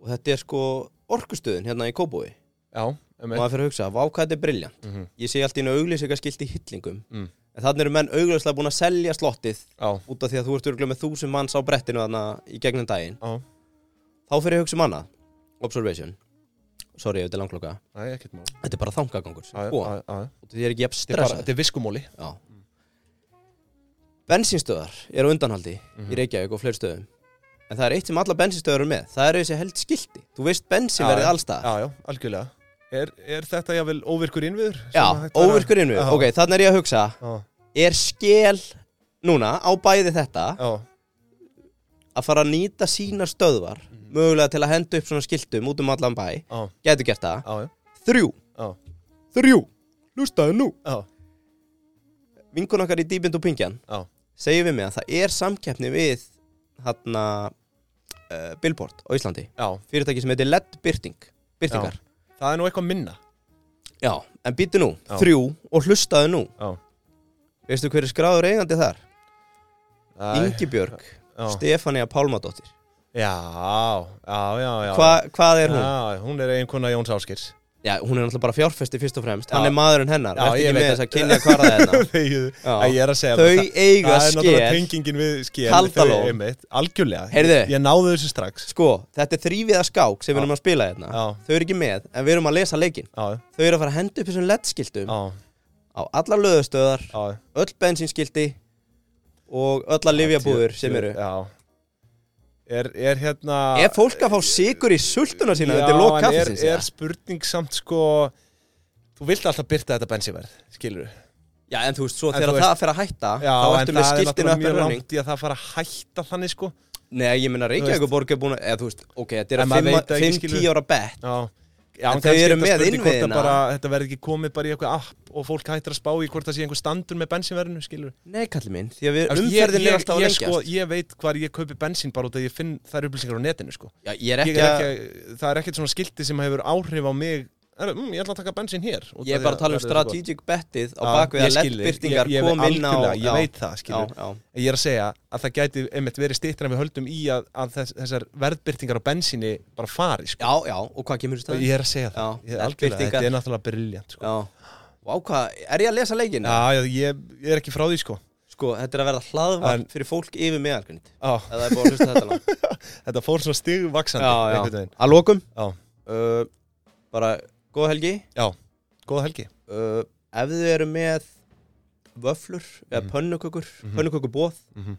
B: Og þetta er sko orkustöðin hérna í Kóbói
A: já
B: Og
A: emmi.
B: maður fyrir að hugsa, vá hvað þetta er briljant
A: Mhm,
B: ég sé allt í einu auglýsingaskilt í hillingum
A: Mm.
B: en þannig eru menn auglýslega búin að selja slottið
A: Já,
B: út af því að þú ert örgulega með þúsund manns á brettinu þarna í gegnum daginn
A: já,
B: þá fyrir ég hugsa um annað, observation sorry ef þetta er langloka,
A: það er ekkert mál Já,
B: þetta er bara þangagangur
A: já,
B: og
A: já, já.
B: því er ekki jafn
A: Þetta er bara-
B: stressað
A: Þetta er viskumóli
B: Já. Bensínstöðar eru á undanhaldi
A: Mhm.
B: í Reykjavík og fleiri stöðum en það er eitt sem alla bensínstöðar eru með það eru þessi held skilti, þú veist bensínverðið
A: Já,
B: allstað,
A: Já, já, algjörlega Er, er þetta jável óvirkur innviður?
B: já, óvirkur innvið
A: Já.
B: ok, þannig er ég að hugsa,
A: Já,
B: er skel núna á bæði þetta
A: já,
B: að fara að nýta sínar stöðvar
A: Mhm.
B: mögulega til að henda upp svona skiltum út um allan bæ
A: já,
B: gætu gert
A: já,
B: það
A: já,
B: þrjú,
A: já,
B: þrjú, lustaðu nú
A: já,
B: vinkun okkar í dýbind og pingjan
A: já.
B: segir við mig að það er samkeppni við þarna uh, Billboard á Íslandi
A: já.
B: fyrirtæki sem heitir LED Byrting Byrtingar,
A: Það er nú eitthvað minna
B: já, en býtu nú
A: Já.
B: þrjú og hlustaðu nú
A: Já.
B: veistu hver er skráður eigandi þar? Ingibjörg,
A: Já.
B: Stefania Pálmadóttir
A: Já, já, já, já
B: Hva, hvað er hún?
A: Já, hún er einkona Jóns Áskirs
B: Já, hún er náttúrulega bara fjárfesti fyrst og fremst
A: Já.
B: Hann er maðurinn hennar,
A: Já,
B: verður
A: ég
B: ekki
A: veit það.
B: með þess að kynja hvarða hennar
A: Þegiðu,
B: Já.
A: Æ, ég er að segja
B: Þau
A: það.
B: eiga
A: Það er náttúrulega
B: skél
A: tengingin við skél
B: Kaldalón.
A: þau einmitt, Algjörlega,
B: Heyrðu.
A: ég náði þessu strax
B: Sko, þetta er þrýviða skák sem við
A: Já.
B: erum að spila hérna
A: Já.
B: Þau eru ekki með, en við erum að lesa leikinn
A: Já,
B: Þau eru að fara að henda upp þessum LED-skiltum
A: já,
B: Á allar löðustöðar,
A: já
B: öll bensínskilti Og öllar livjabúður sem eru
A: Já Er, er hérna
B: Er fólk að fá sigur í sultuna sína Þetta er lók
A: en er,
B: kaffisins
A: er spurning samt sko Þú vilt alltaf byrta þetta bensíverð, skilur
B: Já, en þú veist, svo
A: En
B: þegar
A: þú
B: það fer að hætta
A: Já,
B: Þá
A: en
B: ertu með
A: það er
B: skiltinu
A: náttúrulega
B: upp
A: mjög
B: en running
A: langt í að það fara að hætta þannig sko
B: Nei, ég meina Reykjavíkuborg er búin að Eða þú veist, ok, þetta
A: En
B: er að
A: maður
B: fimm-
A: veit að ekki,
B: fimm,
A: skilur.
B: tíu ára bet
A: Já, já
B: En
A: en
B: þau
A: kannski
B: eru
A: þetta
B: með
A: spurning hvort að
B: innviðina.
A: bara, Þetta verði ekki komið bara í eitthvað app og fólk hættir að spá í hvort það sé einhver standur með bensínverðinu, skilur
B: Nei, kalli minn, því að við
A: Ég- ég-
B: umferðin er alltaf að
A: ég,
B: lengjast
A: sko, ég veit hvar ég kaupi bensín bara út að ég finn þær upplýsingar á netinu sko.
B: Já, ég
A: Ég
B: er ekki
A: er
B: að
A: ekki, Það er ekkert svona skilti sem hefur áhrif á mig er, mm, ég ætla að taka bensin hér út af
B: Ég er
A: því
B: bara að tala
A: verðið er
B: um
A: svo gott.
B: strategic bettið á
A: Já,
B: bakvið
A: ég
B: að
A: skil þig.
B: leddbyrtingar
A: Ég- ég-
B: kom inn á
A: algjörlega, ég
B: já,
A: veit það, skilur.
B: já, já.
A: Ég er að segja að það gæti einmitt verið stýttir en við höldum í að, að þess, þessar verðbyrtingar á bensinni bara fari sko.
B: já, já, og hvað kemur í
A: og
B: stæðin?
A: ég er að segja það,
B: Já,
A: ég er algjörlega,
B: verðbirtingar.
A: þetta er náttúrulega briljant sko.
B: Já, Vá, hvað, er ég að lesa leikin?
A: Já, já, ég, ég er ekki frá því sko
B: Sko, þetta er að verða hlaðvarp
A: En-
B: fyrir fólk yfir meðalgrind
A: Já,
B: Ef það er búin að hlusta þetta langt
A: þetta fór svona stigvaksandi einhvern veginn.
B: Að lokum
A: Já.
B: uh, Bara, góð helgi
A: Góða helgi
B: uh, Ef þið eru með vöflur eða
A: Mhm.
B: pönnukökur,
A: Mhm.
B: pönnukökubóð
A: Mhm.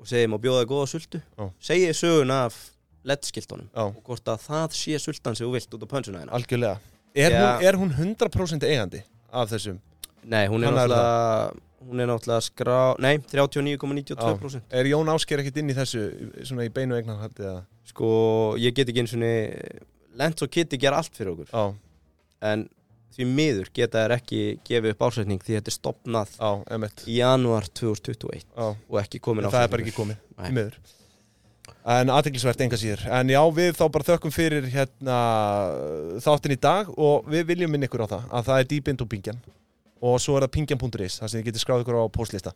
B: og segjum að bjóða góða sultu
A: Já.
B: segið söguna af leddskiltunum
A: Já,
B: og hvort að það sé sultan sem þú vilt út á pönsuna hérna
A: algjörlega Er,
B: Já.
A: hún, er hún 100% eigandi af þessum?
B: Nei, hún er
A: Hann er
B: náttúrulega hún er náttúrulega skrá, nei, 39,92%
A: Er Jón Ásker ekkit inn í þessu svona í beinu eignarhaldi eða?
B: sko, ég get ekki eins og Lent og Kitty gera allt fyrir okkur
A: Já,
B: en því miður geta þær ekki gefið upp ásetning því þetta er stopnað
A: já, emitt
B: í janúar 2021
A: Já,
B: og ekki komin
A: það er bara ekki komið
B: Nei.
A: Í miður En aðteglisvert enga síður En já, við þá bara þökkum fyrir hérna, þáttin í dag og við viljum minna ykkur á það að það er dýbind og pingjan og svo er það pingjan.is þar sem þið getur skráð ykkur á postlista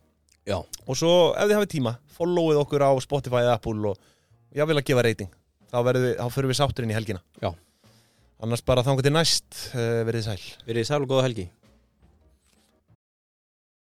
B: Já.
A: Og svo ef þið hafið tíma, followið okkur á Spotify eða Apple og ég vil að gefa reyting þá, verðum við, þá fyrir við sátturinn í helgina
B: Já.
A: Annars bara þangar til næst eh, verið þið sæl
B: Verið sæl og góða helgi